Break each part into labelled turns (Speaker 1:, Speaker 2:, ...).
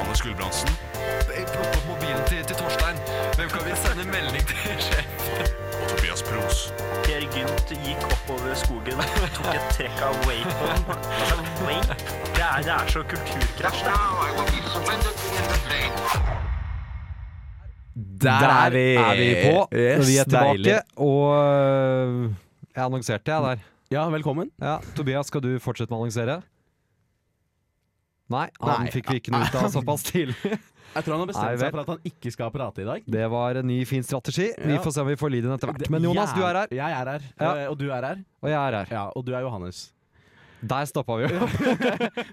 Speaker 1: Anders Gulbrandsen. Plukk opp mobilen til, til Torstein. Hvem kan vi sende melding til sjef? Og Tobias Pros.
Speaker 2: Per Gynt gikk oppover skogen og tok et trekk av Wacon. Altså, Wake? Det er, det er så kulturkrasj. det.
Speaker 3: Der er vi, på.
Speaker 4: Yes,
Speaker 3: vi er tilbake.
Speaker 4: deilig.
Speaker 3: Og øh, jeg annonserte, jeg, der.
Speaker 4: Ja, velkommen.
Speaker 3: Ja, Tobias, skal du fortsette med å annonsere? Nei, han
Speaker 4: Nei.
Speaker 3: fikk vi ikke noe ut av såpass tidlig.
Speaker 4: Jeg tror han har
Speaker 3: Nei,
Speaker 4: bestemt
Speaker 3: vel.
Speaker 4: seg for at han ikke skal prate i dag.
Speaker 3: Det var en ny, fin strategi. Vi
Speaker 4: Ja.
Speaker 3: får se om vi får lyd inn etter hvert. Men Jonas, du er her,
Speaker 4: Jeg er her.
Speaker 3: Ja.
Speaker 4: Eh, Og du er her.
Speaker 3: og jeg er her.
Speaker 4: Ja, og du er Johannes.
Speaker 3: Der stoppa vi jo.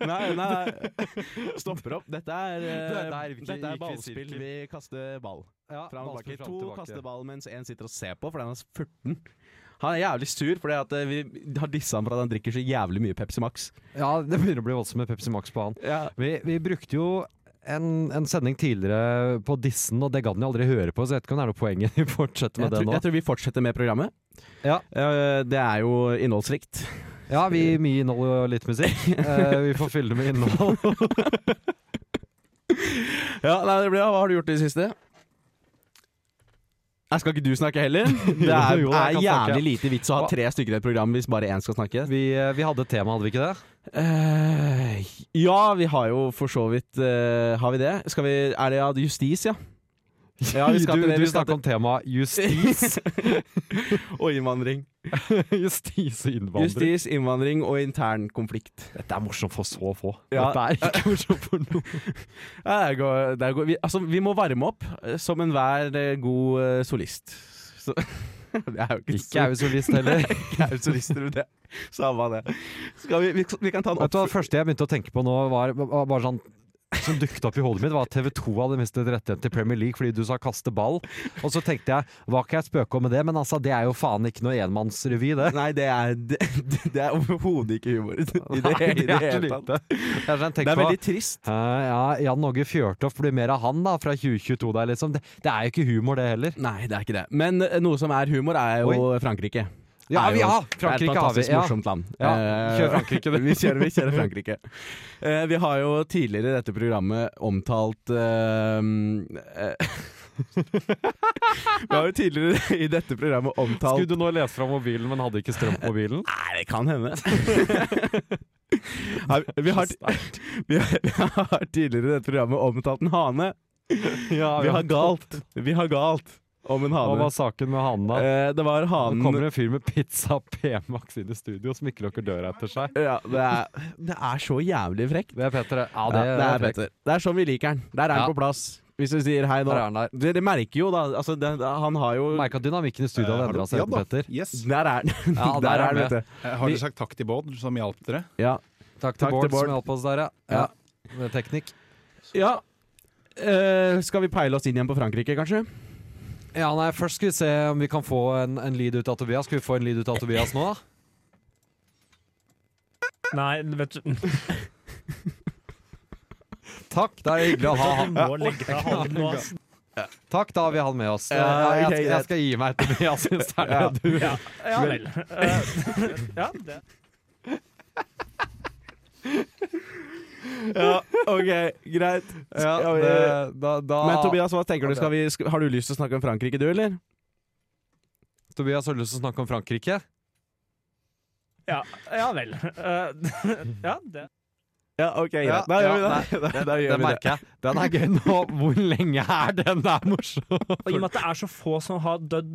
Speaker 4: Nei, nei, stopper opp. Dette er, eh,
Speaker 3: Det er- det er-
Speaker 4: dette er
Speaker 3: gikk i
Speaker 4: ballspill.
Speaker 3: sirkel.
Speaker 4: Vi kaster ball.
Speaker 3: Ja,
Speaker 4: Fram og
Speaker 3: vanskelig
Speaker 4: tilbake.
Speaker 3: fram og
Speaker 4: To
Speaker 3: tilbake.
Speaker 4: kaster ball mens én sitter og ser på, fordi han er 14. Han er jævlig sur fordi at eh, vi har dissa ham for at han drikker så jævlig mye Pepsi Max.
Speaker 3: Ja, det begynner å bli voldsomt med Pepsi Max på han.
Speaker 4: Ja.
Speaker 3: Vi, vi brukte jo en, en sending tidligere på Dissen, og det gadd han jo aldri høre på, så jeg vet ikke om det er noe poeng i å fortsette
Speaker 4: Jeg
Speaker 3: med det
Speaker 4: tror,
Speaker 3: nå.
Speaker 4: jeg tror vi fortsetter med programmet.
Speaker 3: Ja.
Speaker 4: Eh, Det er jo innholdsrikt.
Speaker 3: Ja, vi gir mye innhold og litt musikk. Eh, vi får fylle det med innhold.
Speaker 4: Ja, nei, det blir, Hva har du gjort i det siste? Nei, skal ikke du snakke heller? Det er,
Speaker 3: Jo, jeg
Speaker 4: er
Speaker 3: kan snakke.
Speaker 4: jævlig lite vits å ha
Speaker 3: Hva-
Speaker 4: tre stykker i et program hvis bare én skal snakke.
Speaker 3: Vi, eh, vi hadde et tema, hadde vi ikke det?
Speaker 4: Eh, ja, vi har jo for så vidt eh, Har vi det? Skal vi Er det ja, justis, ja? Ja, vi skal
Speaker 3: du
Speaker 4: til det,
Speaker 3: du
Speaker 4: vi skal
Speaker 3: snakket om temaet justis.
Speaker 4: og innvandring.
Speaker 3: justis og innvandring.
Speaker 4: Justis, innvandring og intern konflikt.
Speaker 3: Dette er morsomt for så få.
Speaker 4: Ja.
Speaker 3: Dette er ikke morsomt for noen.
Speaker 4: Ja, det går, det går, vi, altså, vi må varme opp eh, som enhver eh, god eh, solist. Så, det er jo ikke,
Speaker 3: Ikke er vi solist heller. Vet
Speaker 4: ikke er jo solister, men det. Samme av det. Skal vi, vi, vi kan ta en
Speaker 3: du hva, Det
Speaker 4: oppfølging.
Speaker 3: første jeg begynte å tenke på nå, var, var bare sånn som dukket opp i hodet mitt, var at TV 2 hadde mistet rettigheten til Premier League fordi du sa 'kaste ball'. Og så tenkte jeg hva kan jeg spøke om med det, men altså, det er jo faen ikke noe enmannsrevy, det.
Speaker 4: Nei, det er, det, det er overhodet ikke humor i det, i det,
Speaker 3: Nei, det er så
Speaker 4: hele
Speaker 3: lite.
Speaker 4: tatt.
Speaker 3: Jeg har sånn tenkt
Speaker 4: Det er
Speaker 3: på-
Speaker 4: veldig trist.
Speaker 3: Eh, ja, Jan Åge Fjørtoft blir mer av han da, fra 2022 der, liksom. Det, det er jo ikke humor, det heller.
Speaker 4: Nei, det er ikke det. Men eh, noe som er humor, er jo Frankrike.
Speaker 3: Ja,
Speaker 4: Er
Speaker 3: vi-
Speaker 4: jo-
Speaker 3: ja,
Speaker 4: det er
Speaker 3: Frankrike
Speaker 4: et
Speaker 3: har vi,
Speaker 4: fantastisk
Speaker 3: ja.
Speaker 4: morsomt land.
Speaker 3: Ja,
Speaker 4: Eh,
Speaker 3: kjør Frankrike, du.
Speaker 4: vi, kjører, vi kjører Frankrike. Eh, vi har jo tidligere i dette programmet omtalt eh, eh, Vi har jo tidligere i dette programmet omtalt
Speaker 3: du nå lese fra mobilen, men hadde ikke strøm på mobilen?
Speaker 4: Nei, det kan hende. Nei, vi, har, vi, har, vi har tidligere i dette programmet omtalt en hane.
Speaker 3: ja,
Speaker 4: Vi har galt. Vi har galt om en
Speaker 3: Hva
Speaker 4: hane.
Speaker 3: var saken med hanen da?
Speaker 4: Eh, det var
Speaker 3: Nå
Speaker 4: hanen
Speaker 3: kommer en fyr med pizza og P-Max inn i studio og smikker dere døra etter seg.
Speaker 4: Ja, det er, det er så jævlig frekt.
Speaker 3: Det er Petter, det. Ja,
Speaker 4: Ja,
Speaker 3: det,
Speaker 4: det, er Petter. det er sånn vi liker den. Der er
Speaker 3: Ja.
Speaker 4: han på plass. Hvis du sier hei nå
Speaker 3: Der er han der.
Speaker 4: Dere merker jo, da. Altså, det, han har jo
Speaker 3: Merk at dynamikken i studio har endra seg,
Speaker 5: Eh, Ja da,
Speaker 3: etter Petter.
Speaker 5: Yes.
Speaker 4: Der er han.
Speaker 3: Ja, der
Speaker 4: der
Speaker 3: er
Speaker 4: er han,
Speaker 3: han med.
Speaker 4: vet du.
Speaker 5: Eh, Har dere sagt takk til Bård, som hjalp dere?
Speaker 4: Ja.
Speaker 3: Takk
Speaker 4: til
Speaker 3: til Bård
Speaker 4: Bård.
Speaker 3: som hjalp oss der, ja.
Speaker 4: Ja.
Speaker 3: ja. Med teknikk.
Speaker 4: ja. Eh, skal vi peile oss inn igjen på Frankrike, kanskje?
Speaker 3: Ja, nei, først skal vi se om vi kan få en, en lyd ut av Tobias. Skal vi få en lyd ut av Tobias nå, da?
Speaker 2: Nei, vet du
Speaker 3: Takk, det er hyggelig å ha han.
Speaker 2: Du må legge deg halv nå, ass.
Speaker 3: Takk, da har vi han med oss. Eh,
Speaker 4: Ja,
Speaker 3: jeg,
Speaker 4: ok,
Speaker 3: jeg, jeg skal gi meg til det jeg syns det er
Speaker 4: Ja.
Speaker 3: det du
Speaker 2: Ja, ja vel. Eh, Ja, det.
Speaker 4: Ja, OK, greit.
Speaker 3: ja,
Speaker 4: Ja,
Speaker 3: det,
Speaker 4: vi-
Speaker 3: da, da,
Speaker 4: Men Tobias, hva tenker du? Skal vi, skal, har du lyst til å snakke om Frankrike, du, eller?
Speaker 3: Tobias har lyst til å snakke om Frankrike.
Speaker 2: Ja, ja vel. Eh, Ja, det.
Speaker 4: Ja, OK, greit.
Speaker 3: Ja,
Speaker 4: da gjør
Speaker 3: ja,
Speaker 4: vi det. Da, da
Speaker 3: Den
Speaker 4: gjør vi det.
Speaker 3: merker jeg. Den er gøy nå. Hvor lenge er den der morsom?
Speaker 2: Og i og med at det er så få som har dødd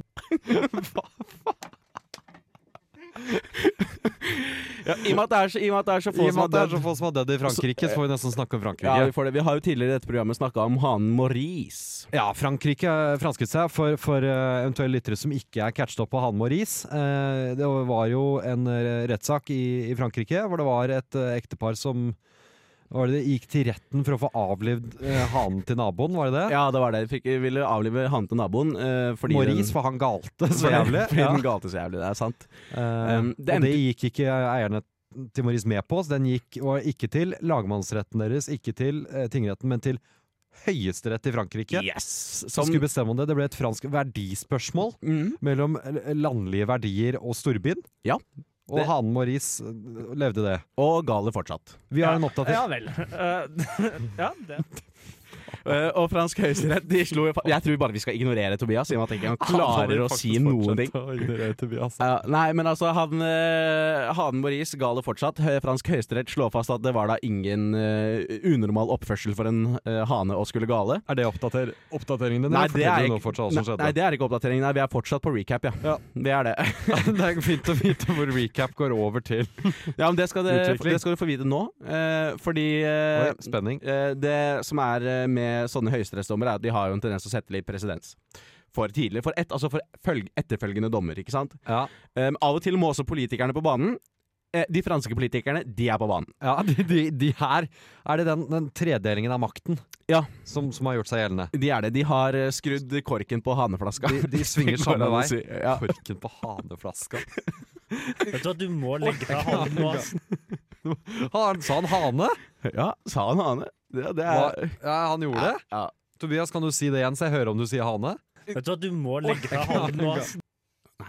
Speaker 4: Ja, I og med at det er så, i og med at det er så
Speaker 3: I
Speaker 4: få
Speaker 3: og
Speaker 4: som
Speaker 3: med at det
Speaker 4: har
Speaker 3: er
Speaker 4: dødd
Speaker 3: så få som har dødd i Frankrike, så får vi nesten snakke om
Speaker 4: Ja,
Speaker 3: Frankrike.
Speaker 4: vi får det. Vi har jo tidligere i dette programmet snakka om hanen Maurice.
Speaker 3: Ja, Frankrike eh, fransket seg for, for eh, eventuelle lyttere som ikke er catchet opp på Han Maurice. Eh, Det var jo en eh, rettssak i, i Frankrike hvor det var et eh, ektepar som hva var det, det gikk til retten for å få avlivd eh, hanen til naboen, var det det?
Speaker 4: Ja, det var det. Fikk, ville avlive hanen til naboen. eh, fordi
Speaker 3: Maurice,
Speaker 4: den,
Speaker 3: for han galte så
Speaker 4: fordi-
Speaker 3: jævlig.
Speaker 4: Fordi
Speaker 3: Ja.
Speaker 4: den galte så jævlig, det er sant.
Speaker 3: Eh,
Speaker 4: Um,
Speaker 3: og
Speaker 4: det
Speaker 3: det
Speaker 4: endte-
Speaker 3: gikk ikke eh, eierne til Maurice med på, så den gikk og ikke til lagmannsretten deres, ikke til eh, tingretten, men til høyesterett i Frankrike.
Speaker 4: Yes!
Speaker 3: Som
Speaker 4: Som
Speaker 3: skulle bestemme om det. Det ble et fransk verdispørsmål
Speaker 4: mm,
Speaker 3: mellom eh, landlige verdier og storbyen.
Speaker 4: Ja,
Speaker 3: Og
Speaker 4: det-
Speaker 3: hanen Maurice eh, levde det.
Speaker 4: Og gale fortsatt.
Speaker 3: Vi har en oppdatering.
Speaker 2: Ja vel. Eh, Ja, det.
Speaker 4: Eh, og fransk høyesterett de slo jo fa- Jeg tror bare vi skal ignorere Tobias, siden han tenker han klarer å si noen ting. Ja, nei, men altså, han eh, Hanen Maurice ga det fortsatt. Hø- Fransk høyesterett slår fast at det var da ingen eh, unormal oppførsel for en eh, hane å skulle gale.
Speaker 3: Er det oppdater oppdateringen din? eller forteller du nå fortsatt hva som
Speaker 4: nei,
Speaker 3: skjedde?
Speaker 4: nei, det er ikke oppdateringen. Nei, vi er fortsatt på recap, ja.
Speaker 3: Ja.
Speaker 4: Det er det.
Speaker 3: det er fint å vite hvor recap går over til.
Speaker 4: Ja, men det skal, det,
Speaker 3: Utvikling.
Speaker 4: det skal du få vite nå, eh, fordi eh,
Speaker 3: Oi, spenning.
Speaker 4: Eh, Det som er eh, med sånne høyesterettsdommere, er at de har jo en tendens til å sette litt presedens. For tidlig. For, et, altså for følg, etterfølgende dommer, ikke sant.
Speaker 3: Ja,
Speaker 4: Eh, av og til må også politikerne på banen. Eh, de franske politikerne, de er på banen.
Speaker 3: ja de, de, de her Er det den, den tredelingen av makten
Speaker 4: Ja.
Speaker 3: som, som har gjort seg gjeldende?
Speaker 4: De er det. De har eh, skrudd korken på haneflaska.
Speaker 3: De, de svinger
Speaker 4: Går det
Speaker 3: samme
Speaker 4: an å
Speaker 3: vei.
Speaker 4: si? Ja.
Speaker 3: Korken på haneflaska.
Speaker 2: Vet du hva, du må legge deg hånden nå. ass.
Speaker 3: Han, sa han hane?
Speaker 4: ja, sa han hane. Det, det
Speaker 3: Hva?
Speaker 4: er
Speaker 3: Ja, han gjorde det?
Speaker 4: ja.
Speaker 3: Tobias, kan du si det igjen, så jeg hører om du sier hane?
Speaker 2: Vet du hva, du må legge deg hånden nå. ass.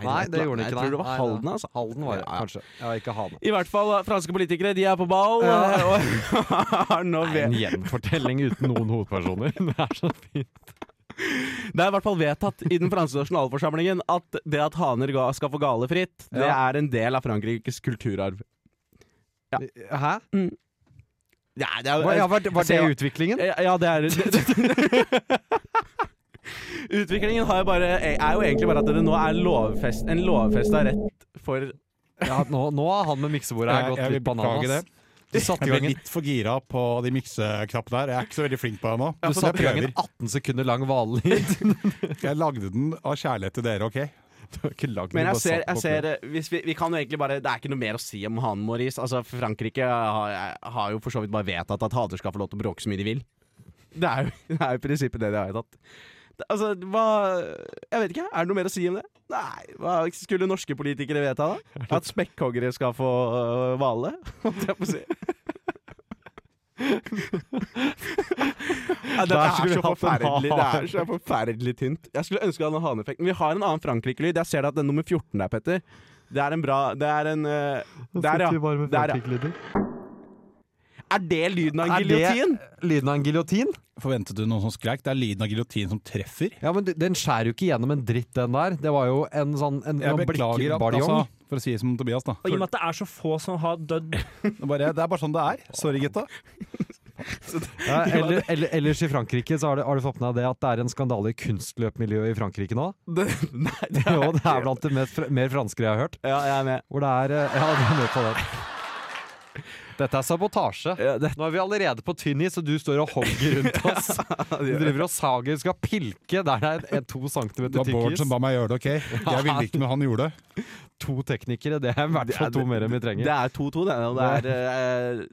Speaker 3: Nei, det gjorde han ikke.
Speaker 4: Jeg tror det var
Speaker 3: nei.
Speaker 4: Halden, altså.
Speaker 3: Halden var det,
Speaker 4: Ja, ja.
Speaker 3: kanskje. Ja, ikke hane.
Speaker 4: I hvert fall, eh, franske politikere, de er på ball.
Speaker 3: Ja.
Speaker 4: eh, Og har nå
Speaker 3: Det er
Speaker 4: ved-
Speaker 3: en gjenfortelling uten noen hovedpersoner. Det er så fint.
Speaker 4: Det er i hvert fall vedtatt i den franske nasjonalforsamlingen at det at haner ga, skal få gale fritt, det
Speaker 3: Ja.
Speaker 4: er en del av Frankrikes kulturarv.
Speaker 3: Hæ?
Speaker 4: Ja, det er,
Speaker 3: Hva- Ja, var, var det
Speaker 4: Jeg ser-
Speaker 3: utviklingen?
Speaker 4: ja, ja, det er Utviklingen har jo bare, e, er jo egentlig bare at det nå er lovfest, en lovfesta rett for
Speaker 3: Ja, nå, nå har han med miksebordet her
Speaker 5: Jeg-
Speaker 3: gått
Speaker 5: jeg vil
Speaker 3: litt bananas.
Speaker 5: beklage
Speaker 3: Du satte i
Speaker 5: Jeg
Speaker 3: gang
Speaker 5: ble
Speaker 3: en,
Speaker 5: litt for gira på de mikseknappene der. Jeg er ikke så veldig flink på det nå.
Speaker 3: du
Speaker 5: Så jeg
Speaker 3: satte i gang en
Speaker 5: prøver.
Speaker 3: 18 sekunder lang vallyd.
Speaker 5: Jeg lagde den av kjærlighet til dere, OK?
Speaker 4: Men jeg ser, jeg ser eh, hvis vi, vi kan jo egentlig bare Det er ikke noe mer å si om hanen Maurice. Altså, Frankrike har, har jo for så vidt bare vedtatt at haner skal få lov til å bråke så mye de vil. Det er jo, det er jo i prinsippet det de har vedtatt. Det- Altså, hva Jeg vet ikke. Er det noe mer å si om det? Nei, hva skulle norske politikere vedta, da? At spekkhoggere skal få øh, hvale? Holdt jeg på å si. Ja, det
Speaker 3: Der
Speaker 4: er
Speaker 3: skulle
Speaker 4: så
Speaker 3: vi hatt en
Speaker 4: forferdelig Det
Speaker 3: hane.
Speaker 4: er så forferdelig tynt. Jeg skulle ønske jeg hadde en haneffekt. Men vi har en annen Frankrike-lyd. Jeg ser det at den nummer 14 der, Petter. Det er en bra Det er en øh, Der, ja. Der, ja. Er det lyden av en
Speaker 3: Er det-
Speaker 4: giljotin?
Speaker 3: Lyden av en giljotin?
Speaker 5: Forventet du noen som skreik? Det er lyden av giljotin som treffer.
Speaker 3: Ja, men du- den skjærer jo ikke gjennom en dritt, den der. Det var jo en sånn en,
Speaker 5: Jeg
Speaker 3: en
Speaker 5: beklager, at,
Speaker 3: blikkbaljong.
Speaker 5: altså, for å si det som Tobias, da.
Speaker 2: Og I og med at det er så få som har dødd
Speaker 5: Det er bare, det er bare sånn det er. Sorry, gutta.
Speaker 3: ja, eller, eller, ellers i Frankrike så har du, har du fått med deg det at det er en skandale i kunstløpmiljøet i Frankrike nå.
Speaker 4: Det- Nei, det er
Speaker 3: Jo, det er blant det mest, fr- mer franske jeg har hørt.
Speaker 4: Ja, jeg er med.
Speaker 3: Hvor det er eh, Ja, du er med på den. Dette er sabotasje.
Speaker 4: Ja, det,
Speaker 3: Nå er vi allerede på tynn is, og du står og hogger rundt oss. Du driver og sager, skal pilke der det er en- to
Speaker 5: Det
Speaker 3: centimeter
Speaker 5: var
Speaker 3: tykk
Speaker 5: Bård
Speaker 3: is.
Speaker 5: som ba meg gjøre det, OK? Jeg ville ikke, men han gjorde det.
Speaker 3: To teknikere, det er i hvert
Speaker 4: Det
Speaker 3: fall
Speaker 4: er-
Speaker 3: to mer enn vi
Speaker 4: Det
Speaker 3: trenger.
Speaker 4: er 2-2, det. Og det er, eh,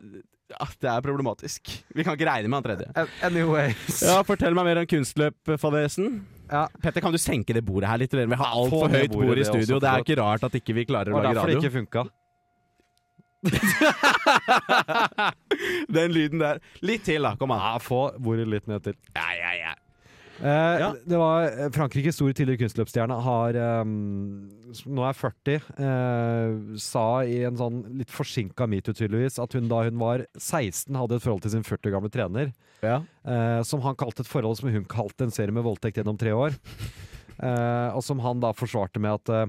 Speaker 4: ja, det er problematisk. Vi kan ikke regne med han tredje.
Speaker 3: Anyways.
Speaker 4: Ja, Fortell meg mer om eh, kunstløpfadesen.
Speaker 3: Ja.
Speaker 4: Petter, kan du senke det bordet her litt? Vi har altfor
Speaker 3: få ned
Speaker 4: høyt
Speaker 3: bordet,
Speaker 4: bord i
Speaker 3: det er også
Speaker 4: studio. Det er
Speaker 3: flott.
Speaker 4: ikke rart at ikke vi klarer
Speaker 3: Det var
Speaker 4: å lage
Speaker 3: derfor det
Speaker 4: radio.
Speaker 3: ikke funka.
Speaker 4: Den lyden der. Litt til, da. Kom an.
Speaker 3: Ja, få bordet litt ned til.
Speaker 4: Ja, ja, ja.
Speaker 3: Eh, Det var eh, Frankrikes store tidligere kunstløpsstjerne har eh, som Nå er 40 eh, Sa i en sånn litt forsinka metoo tydeligvis At hun da hun var 16 hadde et forhold til sin 40 år gamle trener
Speaker 4: Ja.
Speaker 3: eh, Som han kalte et forhold som hun kalte en serie med voldtekt gjennom tre år eh, Og som han da forsvarte med at eh,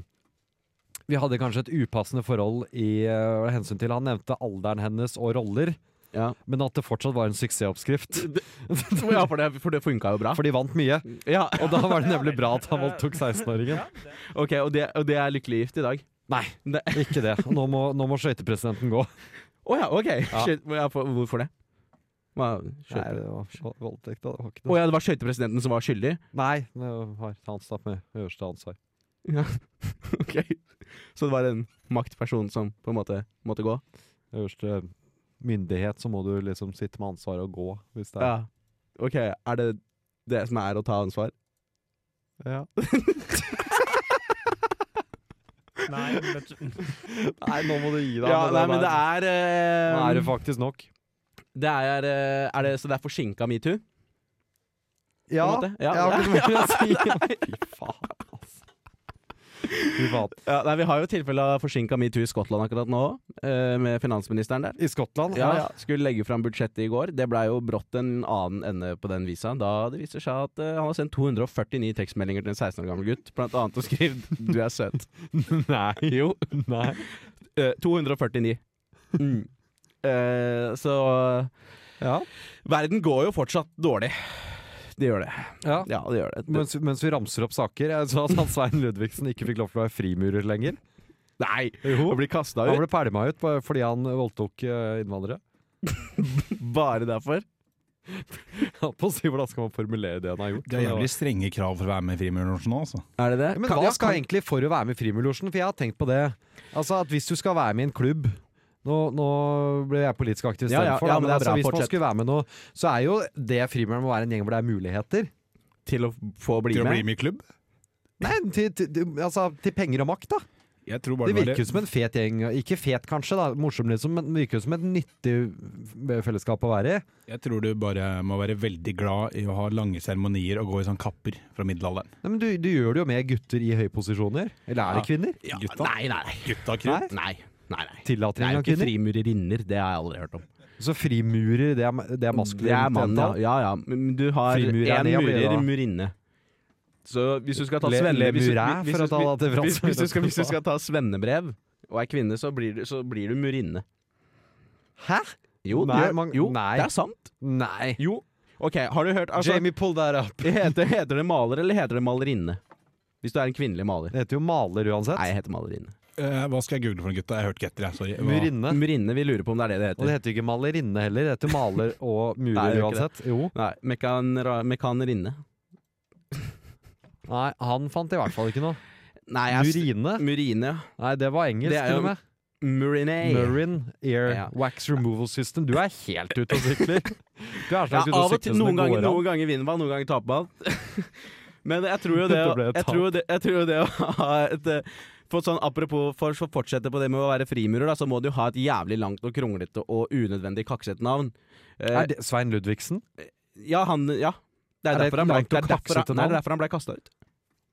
Speaker 3: Vi hadde kanskje et upassende forhold i eh, hensyn til Han nevnte alderen hennes og roller
Speaker 4: Ja.
Speaker 3: Men at det fortsatt var en suksessoppskrift
Speaker 4: ja, for det, for det funka jo bra.
Speaker 3: For de vant mye
Speaker 4: Ja,
Speaker 3: Og da var det nemlig bra at han voldtok 16-åringen
Speaker 4: ok, og det, og det er lykkelig gift i dag?
Speaker 3: Nei,
Speaker 4: Ne-
Speaker 3: ikke det. Nå må, nå må skøytepresidenten gå.
Speaker 4: Å ja, ok.
Speaker 3: Ja.
Speaker 4: Shit, hvor- ja, for, hvorfor det? Hva- skjøt-
Speaker 3: det var voldtekt, da. Det var
Speaker 4: Å ja, det var skøytepresidenten som var skyldig?
Speaker 3: Nei, det har hans da med øverste ansvar.
Speaker 4: Ok Så det var en maktperson som på en måte måtte gå?
Speaker 3: Øverste myndighet, så må du liksom sitte med ansvaret og gå, hvis det er
Speaker 4: Ja. Ok, er det det som er å ta ansvar?
Speaker 3: Ja.
Speaker 2: Nei, vet du.
Speaker 3: Nei, nå må du gi deg.
Speaker 4: Ja,
Speaker 3: med
Speaker 4: nei,
Speaker 3: det
Speaker 4: men det
Speaker 3: der.
Speaker 4: er eh,
Speaker 3: Nå er um, det faktisk nok.
Speaker 4: det er, eh, er det, Så det er forsinka metoo?
Speaker 3: Ja,
Speaker 4: måte. Ja,
Speaker 3: jeg har
Speaker 4: det-
Speaker 3: ikke noe mer å si. Fy faen, altså. Fy faen.
Speaker 4: Ja, nei, vi har jo tilfelle av forsinka metoo i Skottland akkurat nå, eh, med finansministeren der.
Speaker 3: I Skottland?
Speaker 4: Ja, ja. Skulle legge fram budsjettet i går. Det blei jo brått en annen ende på den visa, da det viser seg at eh, han har sendt 249 tekstmeldinger til en 16 år gammel gutt, blant annet og skrevet 'du er søt'.
Speaker 3: Nei.
Speaker 4: Jo,
Speaker 3: Nei.
Speaker 4: eh, 249. Mm. Eh, så
Speaker 3: Ja.
Speaker 4: verden går jo fortsatt dårlig. Det gjør det.
Speaker 3: ja.
Speaker 4: Ja, det gjør det.
Speaker 3: Mens, mens vi ramser opp saker, jeg så at han Svein Ludvigsen ikke fikk lov til å være frimurer lenger.
Speaker 4: Nei!
Speaker 3: Jo.
Speaker 4: Å bli kasta
Speaker 3: Han
Speaker 4: ut
Speaker 3: ble pælma ut bare fordi han voldtok eh, innvandrere.
Speaker 4: bare derfor.
Speaker 3: På å si hvordan skal man formulere det han har gjort.
Speaker 5: Det er jævlig strenge krav for å være med i Frimurlosjen nå, altså.
Speaker 4: Er det det?
Speaker 3: Ja, Men
Speaker 4: Kan-
Speaker 3: hva
Speaker 4: ja,
Speaker 3: skal
Speaker 4: kan-
Speaker 3: egentlig for å være med i Frimurlosjen? For jeg har tenkt på det. Altså at Hvis du skal være med i en klubb Nå, nå ble jeg politisk aktiv
Speaker 4: Ja, ja,
Speaker 3: istedenfor,
Speaker 4: ja,
Speaker 3: da, men
Speaker 4: men det er
Speaker 3: altså,
Speaker 4: bra,
Speaker 3: hvis man
Speaker 4: fortsett.
Speaker 3: skulle være med nå, så er jo det frimuren må være en gjeng hvor det er muligheter.
Speaker 4: Til å få bli
Speaker 5: Til å
Speaker 4: med?
Speaker 5: bli med i klubb?
Speaker 3: Nei, til, til, til- altså, til penger og makt, da.
Speaker 5: Jeg tror
Speaker 3: Det
Speaker 5: bare
Speaker 3: virker jo som en fet gjeng. Ikke fet kanskje, da, morsom liksom, men det virker jo som et nyttig fellesskap å være i.
Speaker 5: Jeg tror du bare må være veldig glad i å ha lange seremonier og gå i sånn kapper fra middelalderen.
Speaker 3: Nei, men du, du gjør det jo med gutter i høye posisjoner. Eller er det kvinner?
Speaker 5: Ja,
Speaker 4: Nei, nei, nei.
Speaker 5: Gutta
Speaker 3: Nei?
Speaker 5: krutt.
Speaker 4: Nei. Nei, nei. Det er
Speaker 3: Tillatning
Speaker 4: jo
Speaker 3: av
Speaker 4: ikke
Speaker 3: kvinner?
Speaker 4: frimurerinner, det har jeg aldri hørt om.
Speaker 3: Så frimurer, det er, det er maskulint?
Speaker 4: Det er mann, ja.
Speaker 3: entall.
Speaker 4: ja, ja. Men du har én
Speaker 3: Frimurer er det, ja, blir det
Speaker 4: murer,
Speaker 3: da.
Speaker 4: murinne. Så hvis du skal ta
Speaker 3: Le-
Speaker 4: svenne...
Speaker 3: le
Speaker 4: Hvis du,
Speaker 3: muræ,
Speaker 4: hvis,
Speaker 3: for å
Speaker 4: hvis,
Speaker 3: ta det til
Speaker 4: hvis, hvis, du skal, hvis du
Speaker 3: franskmennene.
Speaker 4: skal ta svennebrev og er kvinne, så blir du, så blir du murinne.
Speaker 3: Hæ?
Speaker 4: Jo, det,
Speaker 3: Nei,
Speaker 4: gjør-
Speaker 3: man-
Speaker 4: jo
Speaker 3: nei.
Speaker 4: det er sant.
Speaker 3: Nei.
Speaker 4: Jo. Ok, har du hørt altså,
Speaker 3: Jamie, pull that up.
Speaker 4: heter, heter det maler eller heter det malerinne? Hvis du er en kvinnelig maler.
Speaker 3: Det heter jo maler uansett.
Speaker 4: Nei, jeg heter malerinne.
Speaker 5: Eh, hva skal jeg google for noen gutta? Jeg hørte ikke etter, jeg. Sorry. Hva-
Speaker 3: Murinne.
Speaker 4: Murinne, vi lurer på om det er det det
Speaker 3: Og det
Speaker 4: heter.
Speaker 3: heter jo ikke malerinne heller, det heter maler og
Speaker 4: Nei,
Speaker 3: murer
Speaker 4: det gjør ikke
Speaker 3: uansett. Jo.
Speaker 4: Nei, mekanera, mekanerinne.
Speaker 3: Nei, han fant i hvert fall ikke noe.
Speaker 4: Nei, jeg,
Speaker 3: Murine?
Speaker 4: murine, ja.
Speaker 3: Nei, det var engelsk,
Speaker 4: Det er jo-
Speaker 3: til og med.
Speaker 4: Murine.
Speaker 3: Murin Air
Speaker 4: Ja.
Speaker 3: Wax Removal System. Du er helt ute og sykler. Du er
Speaker 4: Ja,
Speaker 3: slags ute
Speaker 4: av
Speaker 3: og
Speaker 4: og til.
Speaker 3: sykler som
Speaker 4: Noen
Speaker 3: det går
Speaker 4: ganger,
Speaker 3: an.
Speaker 4: noen ganger vinner man, noen ganger taper man. Men jeg tror jo det,
Speaker 3: Dette ble et
Speaker 4: jeg tror jo det, jeg tror jo det å ha et eh, for sånn, Apropos for å fortsette på det med å være frimurer, da, så må du ha et jævlig langt og kronglete og unødvendig kaksete navn. Eh,
Speaker 3: Er det Svein Ludvigsen?
Speaker 4: ja, han Ja.
Speaker 3: Er
Speaker 4: Det er,
Speaker 3: det et
Speaker 4: derfor han, ble,
Speaker 3: langt og
Speaker 4: det er, derfor,
Speaker 3: kaksete
Speaker 4: han, nei,
Speaker 3: navn?
Speaker 4: det er derfor han ble kasta ut.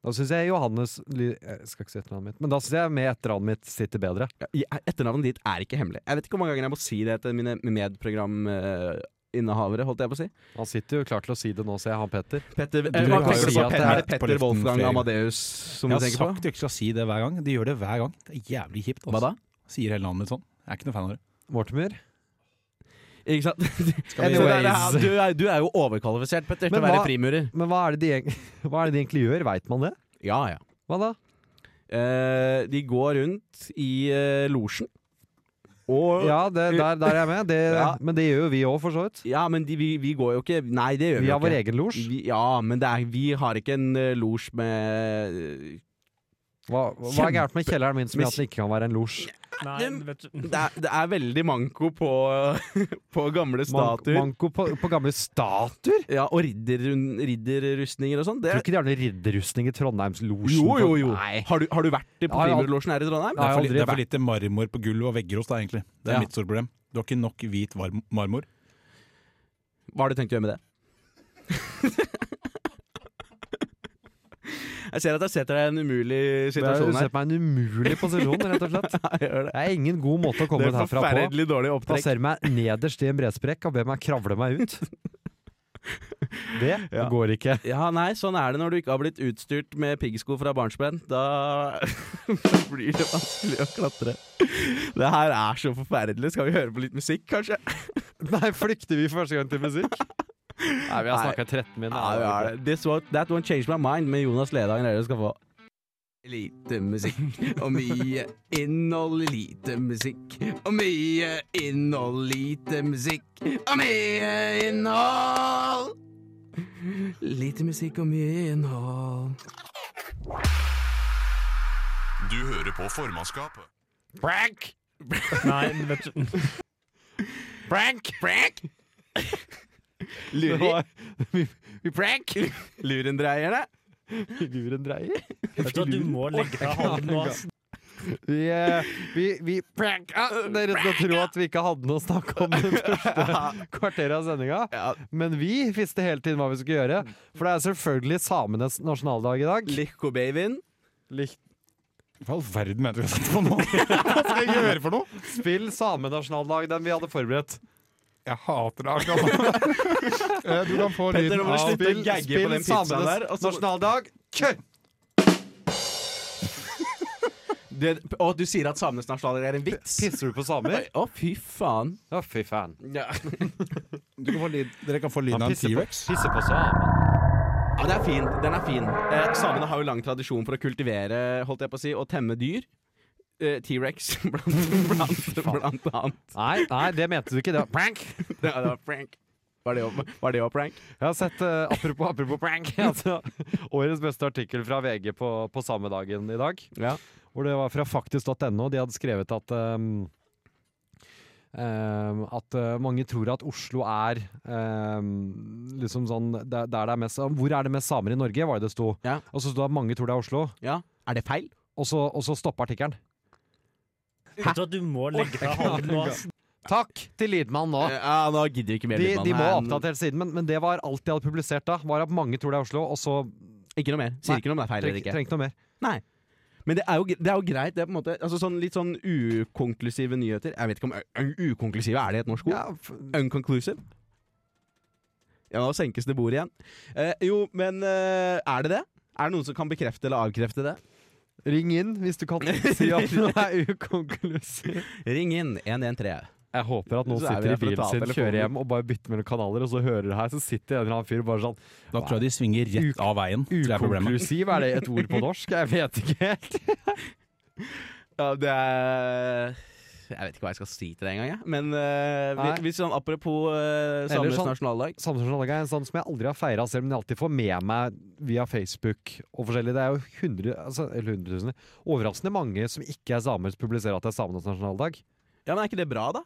Speaker 3: Da syns jeg Johannes Ly- Jeg skal ikke si etternavnet mitt, men da syns jeg med etternavnet mitt sitter bedre.
Speaker 4: Ja, Etternavnet ditt er ikke hemmelig. Jeg vet ikke hvor mange ganger jeg må si det til mine medprograminnehavere, holdt jeg på å si.
Speaker 3: Han sitter jo klar til å si det nå, ser jeg, han Petter.
Speaker 4: Petter,
Speaker 5: har
Speaker 4: hva
Speaker 5: jo
Speaker 4: tenker du
Speaker 5: sagt
Speaker 4: på?
Speaker 5: det
Speaker 4: Petter,
Speaker 5: her
Speaker 4: er det
Speaker 5: på
Speaker 4: Petter
Speaker 5: luften
Speaker 4: Wolfgang
Speaker 5: flere ganger.
Speaker 4: Amadeus som
Speaker 5: Jeg
Speaker 4: du
Speaker 5: har
Speaker 4: tenker
Speaker 5: sagt
Speaker 4: på?
Speaker 5: du ikke skal si det hver gang. De gjør det hver gang. Det er jævlig kjipt.
Speaker 4: Hva da?
Speaker 5: Sier hele navnet mitt sånn. Jeg er ikke noe fan av det.
Speaker 3: Mortimer.
Speaker 4: Ikke sant?
Speaker 3: vi-
Speaker 4: Så det er- Du, er, du er jo overkvalifisert, Petter, til
Speaker 3: Men
Speaker 4: å være
Speaker 3: hva-
Speaker 4: frimurer.
Speaker 3: Men hva er det de, egent- hva er det de egentlig gjør? Veit man det?
Speaker 4: Ja, ja.
Speaker 3: Hva da?
Speaker 4: Eh, de går rundt i eh, losjen. Og
Speaker 3: Ja,
Speaker 4: ja.
Speaker 3: det, der, der er jeg med. Det,
Speaker 4: Ja.
Speaker 3: Men det gjør jo vi òg, for så vidt.
Speaker 4: men de, vi, vi går jo ikke Nei, det gjør vi,
Speaker 3: Vi
Speaker 4: jo
Speaker 3: har vår
Speaker 4: ikke.
Speaker 3: egen losj.
Speaker 4: Vi, ja, men det er, vi har ikke en uh, losj med
Speaker 3: Hva, hva er gærent med kjelleren min som gjør at den ikke kan være en losj?
Speaker 2: Nei,
Speaker 4: Det-
Speaker 2: vet du.
Speaker 4: det, er, det er veldig manko på, på gamle
Speaker 3: Man-
Speaker 4: statuer.
Speaker 3: Manko på, på gamle statuer?
Speaker 4: ja, og ridder, ridderrustninger og sånn. Det
Speaker 3: Tror ikke de har noen ridderrustning i Trondheimslosjen?
Speaker 4: Jo, jo,
Speaker 3: for-
Speaker 4: jo.
Speaker 3: Nei.
Speaker 4: Har du, har du vært i på
Speaker 3: Ja, ja.
Speaker 4: frimurlosjen her i Trondheim?
Speaker 3: Nei,
Speaker 5: Det er, for,
Speaker 3: aldri
Speaker 5: li- det er for
Speaker 3: vært-
Speaker 5: lite marmor på gulv og vegger hos deg, egentlig. Det er
Speaker 4: Ja.
Speaker 5: mitt store problem. Du har ikke nok hvit varm- marmor.
Speaker 4: Hva har du tenkt å gjøre med det? jeg ser at jeg setter deg i en umulig
Speaker 3: Det er,
Speaker 4: situasjon
Speaker 3: du
Speaker 4: her.
Speaker 3: setter meg i en umulig posisjon, rett og slett.
Speaker 4: Ja, jeg gjør det.
Speaker 3: Det er ingen god måte å komme
Speaker 4: det
Speaker 3: ut
Speaker 4: er
Speaker 3: herfra på.
Speaker 4: forferdelig dårlig opptrekk.
Speaker 3: Plasserer meg nederst i en bredsprekk og ber meg kravle meg ut. Det
Speaker 4: Ja.
Speaker 3: går ikke.
Speaker 4: Ja, nei, sånn er det når du ikke har blitt utstyrt med piggsko fra barnsben. Da blir det vanskelig å klatre. Det her er så forferdelig. Skal vi høre på litt musikk, kanskje?
Speaker 3: Nei, flykter vi for første gang til musikk? Nei, vi har
Speaker 4: Nei.
Speaker 3: snakka 13 min.
Speaker 4: Ja, vi har det. This won't, that won't change my mind med Jonas Ledhagen dere skal få. Lite musikk og mye innhold, lite musikk og mye innhold, lite musikk og mye innhold. Lite musikk og mye innhold.
Speaker 6: Du hører på formannskapet.
Speaker 4: Prank!
Speaker 2: Nei, vet du.
Speaker 4: Prank! Prank! Luri. Prank! Lurendreierne.
Speaker 3: Lurendreier?
Speaker 2: Vet du, hva, du må legge deg halv nå. ass.
Speaker 3: Vi, eh, vi, vi Ah, pranka dere til å tro at vi ikke hadde noe å snakke om det første kvarteret av sendinga.
Speaker 4: Ja,
Speaker 3: Men vi visste hele tiden hva vi skulle gjøre, for det er selvfølgelig samenes nasjonaldag i dag.
Speaker 4: Likkobabyen.
Speaker 3: Lik
Speaker 5: Hva i all verden mener du jeg har satt på nå? Hva skal jeg gjøre for noe?
Speaker 3: Spill samenasjonaldag, den vi hadde forberedt.
Speaker 5: Jeg hater det akkurat nå. Eh, Du kan få
Speaker 4: Petter,
Speaker 5: lyden
Speaker 4: nå må du
Speaker 5: av
Speaker 4: slutte å gagge på den pizzaen
Speaker 3: samenes
Speaker 4: der, og så-
Speaker 3: nasjonaldag. Kø!
Speaker 4: Det, og du sier at samenes nasjonaldag er en vits?
Speaker 3: Pisser du på
Speaker 4: Oi,
Speaker 3: samer?
Speaker 4: Å, fy faen.
Speaker 3: Å, fy faen.
Speaker 4: Ja.
Speaker 5: Du kan få lyd- Dere kan få lyden
Speaker 3: Han
Speaker 5: av en
Speaker 3: pisser på,
Speaker 5: T-rex.
Speaker 3: pisser på samer.
Speaker 4: Ja, den er fin. Den er fin. Eh, samene har jo lang tradisjon for å kultivere holdt jeg på å si, og temme dyr. Eh, T-rex, blant, blant, blant annet.
Speaker 3: Nei, nei, det mente du ikke. Det var prank.
Speaker 4: Ja, det var prank. Var det jo- var det jo prank?
Speaker 3: Jeg har sett, eh, apropos, apropos prank, altså, årets beste artikkel fra VG på, på samedagen i dag.
Speaker 4: Ja.
Speaker 3: Hvor det var fra faktisk.no. De hadde skrevet at ehm, ehm, at eh, mange tror at Oslo er ehm, liksom sånn der, der det er mest Hvor er det mest samer i Norge, var det det sto.
Speaker 4: Ja.
Speaker 3: Og så sto det at mange tror det er Oslo.
Speaker 4: ja. Er det feil?
Speaker 3: Og så, og så stoppa artikkelen.
Speaker 2: Vet du at du må legge deg hånden nå, ass?
Speaker 3: Takk til Lidmann nå.
Speaker 4: Eh, Ja, nå gidder vi ikke mer.
Speaker 3: De,
Speaker 4: Lydmann.
Speaker 3: de må
Speaker 4: Nei,
Speaker 3: ha oppdatert siden, men, men det var alt de hadde publisert da. Var at mange tror det er Oslo, og så
Speaker 4: Ikke noe mer. Sier
Speaker 3: Nei,
Speaker 4: ikke noe om det er feil
Speaker 3: treng,
Speaker 4: eller ikke.
Speaker 3: trengte noe mer.
Speaker 4: Nei. Men det er, jo, det er jo greit. Det er på en måte altså sånn, Litt sånn ukonklusive nyheter. Jeg vet ikke om u- ukonklusive er det et norsk ord?
Speaker 3: Ja, f-
Speaker 4: Unconclusive? Ja, nå senkes det bordet igjen. Eh, jo, men eh, er det det? Er det noen som kan bekrefte eller avkrefte det?
Speaker 3: Ring inn hvis du kan si at den er ukonklusiv.
Speaker 4: Ring inn 113.
Speaker 3: Jeg håper at noen
Speaker 4: Så er vi
Speaker 3: sitter i
Speaker 4: her for å
Speaker 3: bilen
Speaker 4: ta
Speaker 3: sin,
Speaker 4: telefonen.
Speaker 3: kjører hjem og bare bytter mellom kanaler, og så hører du her, så sitter en eller annen fyr bare sånn
Speaker 5: Da tror jeg de svinger rett av veien. Det er problemet.
Speaker 3: Ukonklusiv, er det et ord på norsk? Jeg vet ikke helt.
Speaker 4: Ja, det er Jeg vet ikke hva jeg skal si til det engang, jeg. Men eh,
Speaker 3: Nei.
Speaker 4: vi- hvis sånn apropos uh,
Speaker 3: Ellers
Speaker 4: samenes
Speaker 3: sånn-
Speaker 4: nasjonaldag
Speaker 3: Samfunnsdag er en sånn som jeg aldri har feira, selv om jeg alltid får med meg via Facebook og forskjellig. Det er jo hundre, altså, eller hundretusener, overraskende mange som ikke er samer, som publiserer at det er samenes nasjonaldag.
Speaker 4: Ja, men er ikke det bra, da?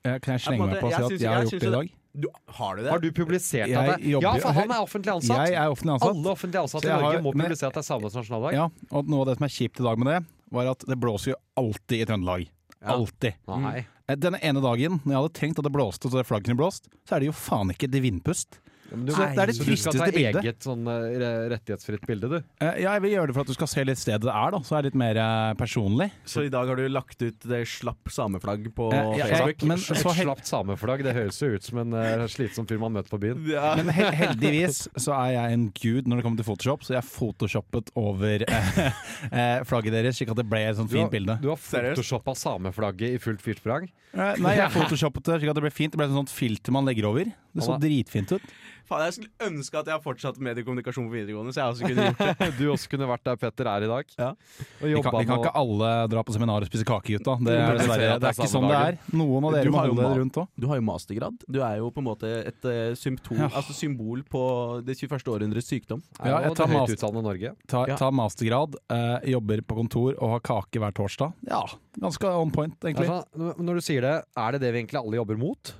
Speaker 5: Eh, Kan jeg slenge
Speaker 4: Jeg
Speaker 5: meg på og
Speaker 4: synes-
Speaker 5: si at jeg
Speaker 4: jeg
Speaker 5: har
Speaker 4: synes
Speaker 5: gjort det i dag?
Speaker 4: Du, har du det?
Speaker 3: Har du publisert
Speaker 5: Jeg
Speaker 3: at det Ja,
Speaker 5: jobber-
Speaker 3: for han er offentlig ansatt.
Speaker 5: Jeg er offentlig ansatt.
Speaker 3: Alle offentlig
Speaker 5: Så
Speaker 3: ansatte i
Speaker 5: jeg
Speaker 3: Norge
Speaker 5: har-
Speaker 3: må
Speaker 5: men-
Speaker 3: publisere at det er samenes nasjonaldag.
Speaker 5: Ja, og noe av det som er kjipt i dag med det, var at det blåser jo alltid i Trøndelag. Alltid.
Speaker 3: Nei.
Speaker 5: Eh, Den ene dagen når jeg hadde tenkt at det blåste, så det flagget kunne blåst, så er det jo faen ikke det vindpust.
Speaker 3: Du,
Speaker 5: Så det er det
Speaker 3: så du skal ta
Speaker 5: tristeste bildet.
Speaker 3: eget sånn eh, re- rettighetsfritt bilde, du.
Speaker 5: Eh, Ja, jeg vil gjøre det for at du skal se litt stedet det er, da, så det er litt mer eh, personlig.
Speaker 4: Så i dag har du lagt ut det slapp sameflagg på
Speaker 5: Eh, ja,
Speaker 4: Facebook?
Speaker 5: men,
Speaker 3: Et
Speaker 5: så hel
Speaker 3: slapt sameflagg, det høres jo ut som en eh, slitsom fyr man møter på byen.
Speaker 4: Ja.
Speaker 5: men he heldigvis så er jeg en gud når det kommer til Photoshop, så jeg photoshoppet over eh, eh, flagget deres, slik at det ble et sånt
Speaker 3: Du har,
Speaker 5: fint bilde.
Speaker 3: du har
Speaker 4: Seriøst?
Speaker 3: photoshoppa sameflagget i fullt fyrsprang.
Speaker 5: Eh, Nei, jeg photoshoppet det slik at det ble fint. Det ble et sånt filter man legger over. Det så
Speaker 3: Anna.
Speaker 5: dritfint ut.
Speaker 4: Faen, jeg skulle ønske at jeg har fortsatt mediekommunikasjon på videregående, så jeg også kunne gjort det.
Speaker 3: Du også kunne vært der Petter er i dag.
Speaker 4: Ja.
Speaker 3: Og
Speaker 5: Vi kan,
Speaker 3: jobba
Speaker 5: vi kan
Speaker 3: med
Speaker 5: ikke alle dra på seminar og spise kake, gutta. Det,
Speaker 3: Jo,
Speaker 5: er
Speaker 3: men det ser
Speaker 5: dessverre-
Speaker 3: jeg at
Speaker 5: det er
Speaker 3: det er
Speaker 5: ikke sånn det er. Noen av
Speaker 4: Du
Speaker 5: dere må
Speaker 4: har jo
Speaker 5: holde
Speaker 4: mat.
Speaker 5: dere rundt òg.
Speaker 4: Du har jo mastergrad. Du er jo på en måte et eh, symptom,
Speaker 5: Ja.
Speaker 4: altså symbol på det 21. århundres sykdom.
Speaker 3: ja,
Speaker 5: Ja, jeg tar
Speaker 3: høyt
Speaker 5: mas-
Speaker 3: utdannede Norge.
Speaker 5: Ta,
Speaker 4: Ja.
Speaker 5: ta mastergrad, eh, jobber på kontor og har kake hver torsdag. Ja, ganske on point,
Speaker 3: Det er
Speaker 5: egentlig.
Speaker 3: sånn, n- når du sier det, er det det vi egentlig alle jobber mot?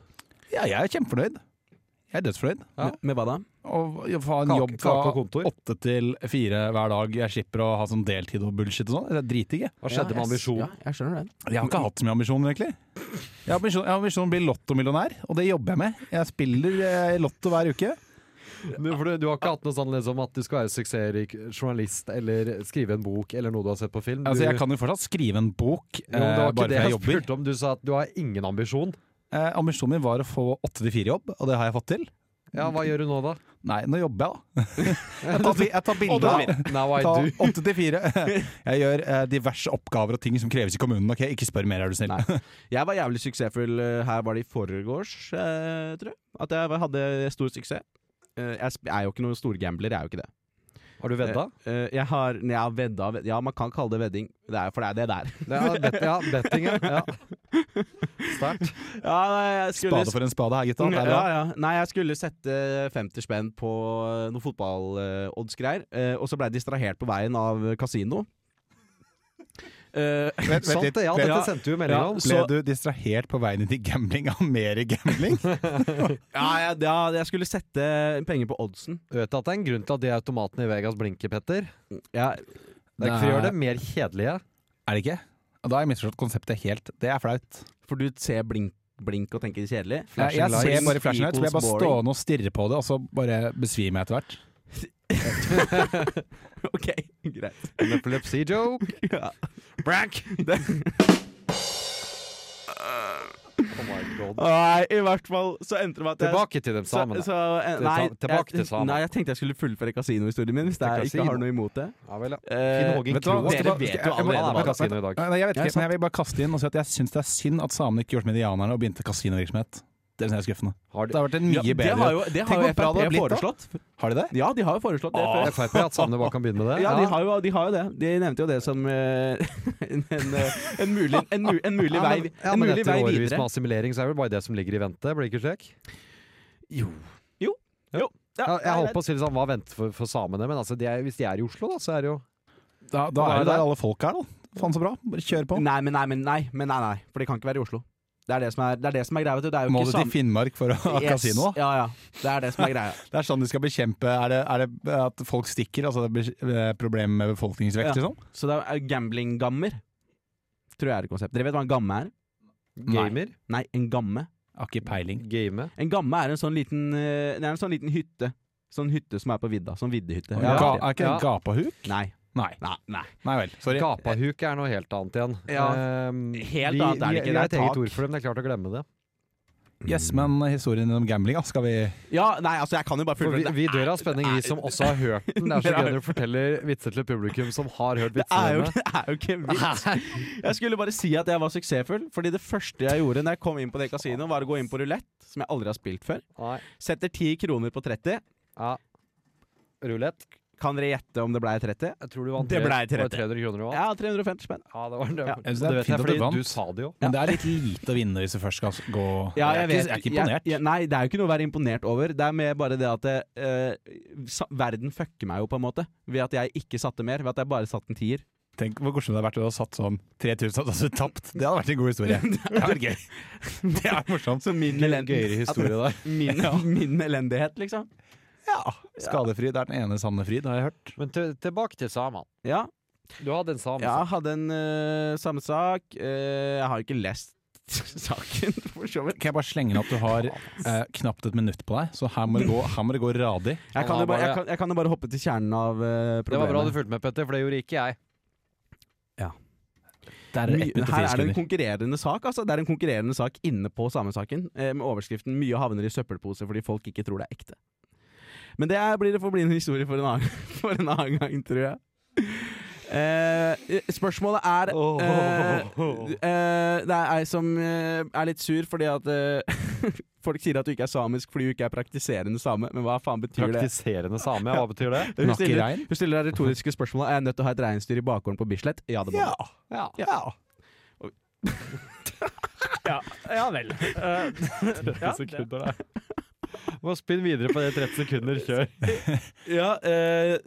Speaker 5: Ja, jeg er kjempefornøyd. Jeg er dødsfornøyd.
Speaker 3: Ja.
Speaker 4: Med, med hva da?
Speaker 5: Og jeg får ha en
Speaker 3: Kake-
Speaker 5: jobb
Speaker 3: kake og
Speaker 5: fra
Speaker 3: kontor.
Speaker 5: åtte til fire hver dag. Jeg slipper å ha sånn deltid og bullshit og sånn. Det er dritdigg. jeg.
Speaker 3: Hva skjedde med
Speaker 4: Ja, jeg s-
Speaker 3: ambisjonen?
Speaker 4: Ja, jeg skjønner det.
Speaker 5: Jeg har ikke hatt så mye ambisjoner, egentlig. Jeg har ambisjon- jeg har ambisjon om å bli lottomillionær, og det jobber jeg med. Jeg spiller eh, lotto hver uke.
Speaker 3: Du, for du, du har ikke hatt noe sånn liksom, at du skal være suksessrik journalist eller skrive en bok eller noe du har sett på film? Du,
Speaker 5: Altså, jeg kan jo fortsatt skrive en bok,
Speaker 3: jo, men det
Speaker 5: eh,
Speaker 3: var ikke
Speaker 5: bare
Speaker 3: det
Speaker 5: fordi jeg
Speaker 3: jeg
Speaker 5: jobber.
Speaker 3: spurte om. Du sa at du har ingen ambisjon.
Speaker 5: Eh, ambisjonen min var å få 8-4-jobb, og det har jeg fått til.
Speaker 3: Ja, hva gjør du nå, da?
Speaker 5: Nei, nå jobber jeg, da. Jeg tar, bi- jeg tar bilder av
Speaker 3: Now I
Speaker 5: Ta
Speaker 3: do.
Speaker 5: 8-4. Jeg gjør eh, diverse oppgaver og ting som kreves i kommunen. Ok, Ikke spør mer, er du snill.
Speaker 4: Nei. Jeg var jævlig suksessfull eh, her var det i forgårs, eh, tror jeg. At jeg var- hadde stor suksess. Eh, jeg sp- er jo ikke noen stor gambler, jeg er jo ikke det.
Speaker 3: Har du vedda?
Speaker 4: Eh, jeg har, nei, jeg har vedda, ved- ja man kan kalle det vedding, det er, for det er det der.
Speaker 3: Ja, bet, ja betting, ja. ja. Sterkt.
Speaker 4: Ja, nei, jeg skulle
Speaker 5: Spade for en spade her, gutta.
Speaker 3: Sånn,
Speaker 5: Det er
Speaker 4: ja,
Speaker 5: bra.
Speaker 4: ja. Nei, jeg skulle sette 50 spenn på eh, noe fotball-odds-greier, eh, og så ble jeg distrahert på veien av kasino. Eh,
Speaker 5: Vent, vent
Speaker 3: Sant
Speaker 5: litt.
Speaker 3: det, ja. Dette
Speaker 5: Vent.
Speaker 3: sendte du melding
Speaker 4: Ja,
Speaker 3: om.
Speaker 5: Ble du distrahert på veien inn i gambling av mer gambling?
Speaker 4: ja, jeg, ja, jeg skulle sette penger på oddsen.
Speaker 3: Du vet at det er en grunn til at de automatene i Vegas blinker, Petter?
Speaker 4: Ja,
Speaker 3: Det er ikke for å gjøre det mer kjedelige.
Speaker 5: Er det ikke? Da har jeg misforstått konseptet helt. Det er flaut.
Speaker 4: for du ser blink, blink og tenker kjedelig.
Speaker 5: Jeg, jeg
Speaker 4: lights
Speaker 5: ser bare flashen ut, så blir jeg bare
Speaker 4: equals boring.
Speaker 5: stående og stirre på det, og så bare besvimer jeg etter hvert.
Speaker 4: Ok, greit.
Speaker 3: En epilepsy joke.
Speaker 4: Ja.
Speaker 3: Brack! Oh
Speaker 4: Nei, i hvert fall så endte det med at jeg
Speaker 3: Tilbake til dem
Speaker 4: så,
Speaker 3: sammen.
Speaker 4: så, eh,
Speaker 3: Til
Speaker 4: nei,
Speaker 3: sa- tilbake til samene.
Speaker 4: jeg, nei, jeg tenkte jeg skulle fullføre kasinohistorien min. Hvis
Speaker 3: Til
Speaker 4: jeg ikke
Speaker 3: kasino.
Speaker 4: har noe imot det.
Speaker 3: Ja vel, ja.
Speaker 4: Eh,
Speaker 3: Finn Hågen
Speaker 5: vet du hva?
Speaker 3: Krohg.
Speaker 5: Skal jeg
Speaker 4: Dere
Speaker 5: bare-
Speaker 4: vet
Speaker 5: skal
Speaker 4: jo
Speaker 5: jeg- jeg bare-
Speaker 4: allerede
Speaker 3: hva
Speaker 4: hva
Speaker 5: bare-
Speaker 3: kasino i dag.
Speaker 5: Nei, jeg vet
Speaker 4: Ja,
Speaker 5: ikke, men
Speaker 4: sant.
Speaker 5: jeg vil bare kaste inn og si at jeg syns det er synd at samene ikke gjorde som indianerne og begynte kasinovirksomhet. Det synes jeg er skuffende.
Speaker 3: Har
Speaker 5: Det
Speaker 3: de,
Speaker 5: har vært en mye
Speaker 4: Ja,
Speaker 5: bedre
Speaker 4: Det har jo, det har
Speaker 5: Tenk hvor bra
Speaker 4: jo
Speaker 5: det
Speaker 4: Frp
Speaker 5: har blitt, da.
Speaker 4: foreslått.
Speaker 5: Har de det?
Speaker 4: Ja, de har jo foreslått det før.
Speaker 3: Frp at samene bare kan begynne med det?
Speaker 4: Ja, de har, jo, de har jo det. De nevnte jo det som eh, en, en, eh, en mulig, en, mu- en mulig
Speaker 3: Ja,
Speaker 4: vei,
Speaker 3: men- ja,
Speaker 4: en
Speaker 3: men
Speaker 4: mulig
Speaker 3: etter
Speaker 4: vei
Speaker 3: årevis
Speaker 4: videre.
Speaker 3: med assimilering så er det vel bare det som ligger i vente? Blir det ikke slik?
Speaker 4: Jo. Jo. Jo. Ja,
Speaker 3: Ja, jeg
Speaker 4: nei,
Speaker 3: holdt på å si det sånn, hva venter for, for samene? Men altså, de er, hvis de er i Oslo, da, så er det jo
Speaker 5: Da, da
Speaker 3: Da
Speaker 5: er
Speaker 3: er
Speaker 5: det der
Speaker 3: det.
Speaker 5: alle folk er, da. Faen så bra. Bare kjør på.
Speaker 4: Nei, men nei, men nei, men nei, nei. For det kan ikke være i Oslo. Det er det som er, det er, det som er greia. vet du. Det er jo
Speaker 5: Må du
Speaker 4: ikke
Speaker 5: til Finnmark for å ha
Speaker 4: Yes.
Speaker 5: kasino? da?
Speaker 4: Ja, ja. Det er det som er greia.
Speaker 5: Det er sånn de skal bekjempe Er det, er det at folk stikker? Altså det blir eh, problem med befolkningsvekst,
Speaker 4: Ja.
Speaker 5: liksom?
Speaker 4: Så det er gamblinggammer. Tror jeg er et konsept. Dere vet hva en gamme er?
Speaker 3: gamer.
Speaker 4: Nei, en gamme.
Speaker 5: Har ikke peiling.
Speaker 3: Game.
Speaker 4: En gamme er en sånn liten, eh, det er en sånn liten hytte. Sånn hytte som er på vidda. Sånn viddehytte.
Speaker 5: Ga,
Speaker 4: Ja.
Speaker 5: er ikke det
Speaker 3: Ja.
Speaker 5: gapahuk?
Speaker 4: Nei.
Speaker 5: Nei.
Speaker 4: Nei. nei.
Speaker 5: Nei vel. Sorry.
Speaker 3: Gapahuk er noe helt annet igjen.
Speaker 4: Ja,
Speaker 3: Ehm, vi-
Speaker 4: helt annet
Speaker 3: Vi,
Speaker 4: er det ikke,
Speaker 3: vi
Speaker 4: det er
Speaker 3: har et eget
Speaker 4: tak.
Speaker 3: ord for dem, det er klart å glemme det.
Speaker 5: Yes, men historien din om gambling, da, skal vi
Speaker 4: Ja, nei, altså, jeg kan jo bare
Speaker 3: For vi,
Speaker 4: fullføre.
Speaker 3: vi dør av spenning, vi som også har hørt den. Det er så gøy når du forteller vitser til publikum som har hørt
Speaker 4: Det er jo,
Speaker 3: vitsene dine.
Speaker 4: det er jo ikke vits. Jeg skulle bare si at jeg var suksessfull, fordi det første jeg gjorde når jeg kom inn på det kasinoet, var å gå inn på rulett, som jeg aldri har spilt før.
Speaker 3: Nei.
Speaker 4: Setter 10 kroner på 30.
Speaker 3: Ja. Rulett.
Speaker 4: Kan dere gjette om det blei 30?
Speaker 3: Jeg tror du vant
Speaker 4: Det
Speaker 3: tre-
Speaker 4: ble
Speaker 3: var det
Speaker 4: 30.
Speaker 3: 300 kroner du vant.
Speaker 4: Ja, 350 spenn.
Speaker 3: Ja, det var det.
Speaker 4: Ja.
Speaker 3: Og
Speaker 5: Jeg synes det er
Speaker 3: det vet
Speaker 5: fint
Speaker 3: jeg
Speaker 5: at du
Speaker 3: fordi
Speaker 5: vant.
Speaker 3: du sa det jo.
Speaker 5: Men det er litt lite å vinne hvis du først skal gå
Speaker 4: Ja, jeg,
Speaker 5: er ikke,
Speaker 4: vet,
Speaker 5: jeg er ikke imponert.
Speaker 4: jeg- jeg- nei, det er jo ikke noe å være imponert over. Det er mer bare det at eh, sa, verden fucker meg jo, på en måte. Ved at jeg ikke satte mer. Ved at jeg bare satte en tier.
Speaker 5: Tenk hvor morsomt det hadde vært å ha satt sånn 3000 og så tapt. Det hadde vært en god historie. Det hadde vært gøy. Det er morsomt.
Speaker 4: Så min,
Speaker 3: Litt
Speaker 4: elend
Speaker 3: Gøyere historie der.
Speaker 4: min, min elendighet, liksom.
Speaker 5: Ja. Skadefryd er den ene sanne fryd, har jeg hørt.
Speaker 3: Men til, tilbake til samene.
Speaker 4: Ja,
Speaker 3: Du hadde en altså. same.
Speaker 4: Ja, jeg hadde en eh, samme sak. Eh, jeg har ikke lest saken, for så vidt.
Speaker 5: Kan jeg bare slenge inn at du har eh, knapt et minutt på deg, så her må det gå, her må det gå radig.
Speaker 4: Jeg kan, jo bare, jeg, kan, jeg kan jo bare hoppe til kjernen av eh,
Speaker 3: Det var bra du
Speaker 4: problemet.
Speaker 3: fulgte med, Petter, for det gjorde ikke jeg.
Speaker 5: Det er ett
Speaker 4: Mye-
Speaker 5: minutt og
Speaker 4: Her
Speaker 5: fire
Speaker 4: er det en
Speaker 5: sekunder.
Speaker 4: konkurrerende sak altså. Det er en konkurrerende sak inne på samme saken, eh, med overskriften 'Mye havner i søppelpose fordi folk ikke tror det er ekte'. Men det er, blir det får bli en historie for en annen, for en annen gang, tror jeg. Eh, spørsmålet er eh, eh, Det er ei som eh, er litt sur fordi at eh, folk sier at du ikke er samisk fordi du ikke er praktiserende same, men hva faen betyr det?
Speaker 3: Praktiserende same, hva betyr det?
Speaker 4: Hun
Speaker 5: Nakk i
Speaker 4: stiller,
Speaker 5: rein?
Speaker 4: hun stiller det retoriske spørsmålet Er jeg nødt til å ha et reinsdyr i bakgården på Bislett. Ja, det må
Speaker 5: Ja.
Speaker 4: du.
Speaker 3: Ja.
Speaker 5: ja.
Speaker 2: Ja, ja vel. Eh, ja, det.
Speaker 3: Må spinn videre på det 30 sekunder, kjør.
Speaker 4: Ja, eh,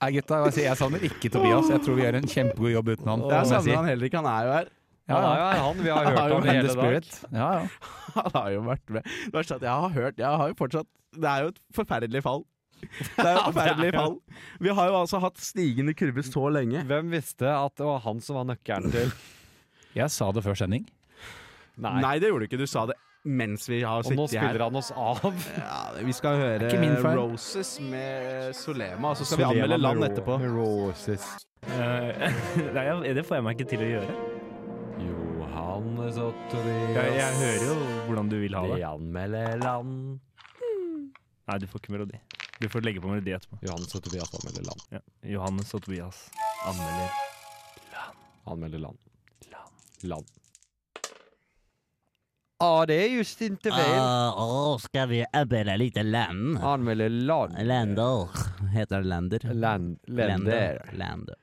Speaker 5: Nei, gutta, jeg, sier, jeg savner ikke Tobias. Jeg tror vi gjør en kjempegod jobb uten han.
Speaker 4: jeg
Speaker 5: må jeg si.
Speaker 4: savner han heller ikke, han er jo her.
Speaker 5: Ja,
Speaker 3: Han
Speaker 5: ja.
Speaker 3: er jo her, han. Vi har hørt
Speaker 4: Han er jo
Speaker 3: han i
Speaker 5: And the
Speaker 3: hele dag.
Speaker 5: spirit. Ja, ja.
Speaker 4: Han har jo vært med. Det verste er at jeg har hørt Jeg har jo fortsatt Det er jo et forferdelig fall. Det er jo et forferdelig fall. Vi har jo altså hatt stigende kurve så lenge.
Speaker 3: Hvem visste at det var han som var nøkkelen til
Speaker 5: Jeg sa det før sending.
Speaker 3: Nei. altså,
Speaker 4: Nei, det gjorde du ikke. Du sa det mens vi har
Speaker 3: Og nå
Speaker 4: sittet her.
Speaker 3: spiller han oss av.
Speaker 4: Ja, vi skal høre
Speaker 5: ikke min feil.
Speaker 4: Roses med Solema, og så skal vi anmelde land etterpå.
Speaker 3: Roses.
Speaker 2: Eh, nei, jeg- det får jeg meg ikke til å gjøre.
Speaker 3: Johannes og
Speaker 2: Jeg, jeg
Speaker 3: Tobias.
Speaker 2: hører jo hvordan du vil ha
Speaker 3: Vi
Speaker 2: det.
Speaker 3: anmelder land.
Speaker 2: Nei, du får ikke melodi. Du får legge på melodi etterpå.
Speaker 3: Johannes og Tobias anmelder land.
Speaker 2: Ja. Johannes og Tobias anmelder.
Speaker 3: Anmelder land. Land. Ja, det er Justin Tveen.
Speaker 4: skal vi anmelde litt land?
Speaker 3: Anmelder land.
Speaker 4: Lander. Heter det lander?
Speaker 3: Land. Lender.
Speaker 4: Lander.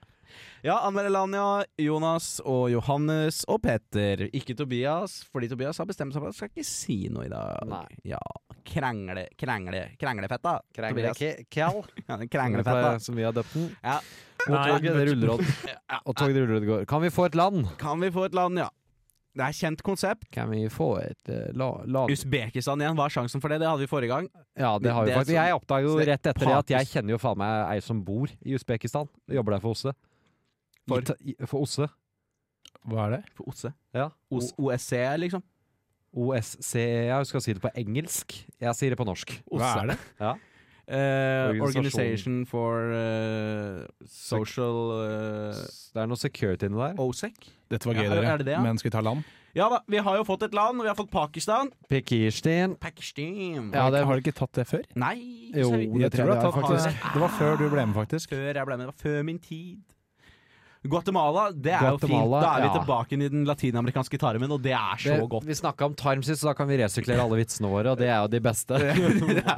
Speaker 4: Ja, anmelde land, ja. Jonas og Johannes og Petter. Ikke Tobias, fordi Tobias har bestemt seg for at han skal ikke si noe i dag.
Speaker 3: Nei.
Speaker 4: Ja, krangle, krangle, kranglefetta.
Speaker 3: Krangle
Speaker 4: Tobias.
Speaker 3: ke- Kel,
Speaker 4: Ja,
Speaker 3: som det
Speaker 4: kranglefetta.
Speaker 3: pleier- som vi har døpt den.
Speaker 4: Ja.
Speaker 3: Og toget, det ruller og,
Speaker 4: Ja,
Speaker 3: og toget, det ruller og det går. Kan vi få et land?
Speaker 4: Kan vi få et land, ja. Det er kjent konsept.
Speaker 3: Kan vi få et eh, la- lag?
Speaker 4: Usbekistan igjen, hva er sjansen for det? Det hadde vi forrige gang.
Speaker 3: Ja, det har vi
Speaker 4: Det er
Speaker 3: faktisk. Jeg oppdager jo
Speaker 4: så det er
Speaker 3: rett etter det at jeg
Speaker 4: Pakistan.
Speaker 3: kjenner jo faen meg ei som bor i Usbekistan. Jeg Jobber der for OSSE.
Speaker 4: For?
Speaker 3: Ita- i- for OSSE.
Speaker 5: Hva er det?
Speaker 4: For OSSE.
Speaker 3: Ja.
Speaker 4: OSSE, liksom.
Speaker 3: OSCE. Jeg E skal si det på engelsk. Jeg sier det på norsk.
Speaker 5: Hva er det?
Speaker 3: Ja.
Speaker 4: Eh,
Speaker 3: Organisasjon.
Speaker 4: Organization for eh, Social eh,
Speaker 3: Det er noe security inni der.
Speaker 4: OSEC.
Speaker 5: Dette var gøy,
Speaker 4: Ja,
Speaker 5: dere.
Speaker 4: er det det, ja?
Speaker 5: Men skal vi ta land?
Speaker 4: Ja da, vi har jo fått et land, og vi har fått Pakistan.
Speaker 3: Pakistan.
Speaker 4: Pakistan.
Speaker 3: Ja, det-
Speaker 5: Har dere ikke tatt det før?
Speaker 4: Nei,
Speaker 3: Jo,
Speaker 4: så vidt.
Speaker 3: det
Speaker 5: Jeg tror jeg har
Speaker 3: jeg
Speaker 5: tatt det. Det var før du ble med, faktisk.
Speaker 4: Før jeg ble med, det var før min tid. Guatemala, det er jo fint.
Speaker 3: Guatemala,
Speaker 4: Da er vi
Speaker 3: ja.
Speaker 4: tilbake i den latinamerikanske tarmen, og det er så
Speaker 3: Det,
Speaker 4: godt.
Speaker 3: vi snakka om tarm sist, så da kan vi resirkulere alle vitsene våre, og det er jo de beste.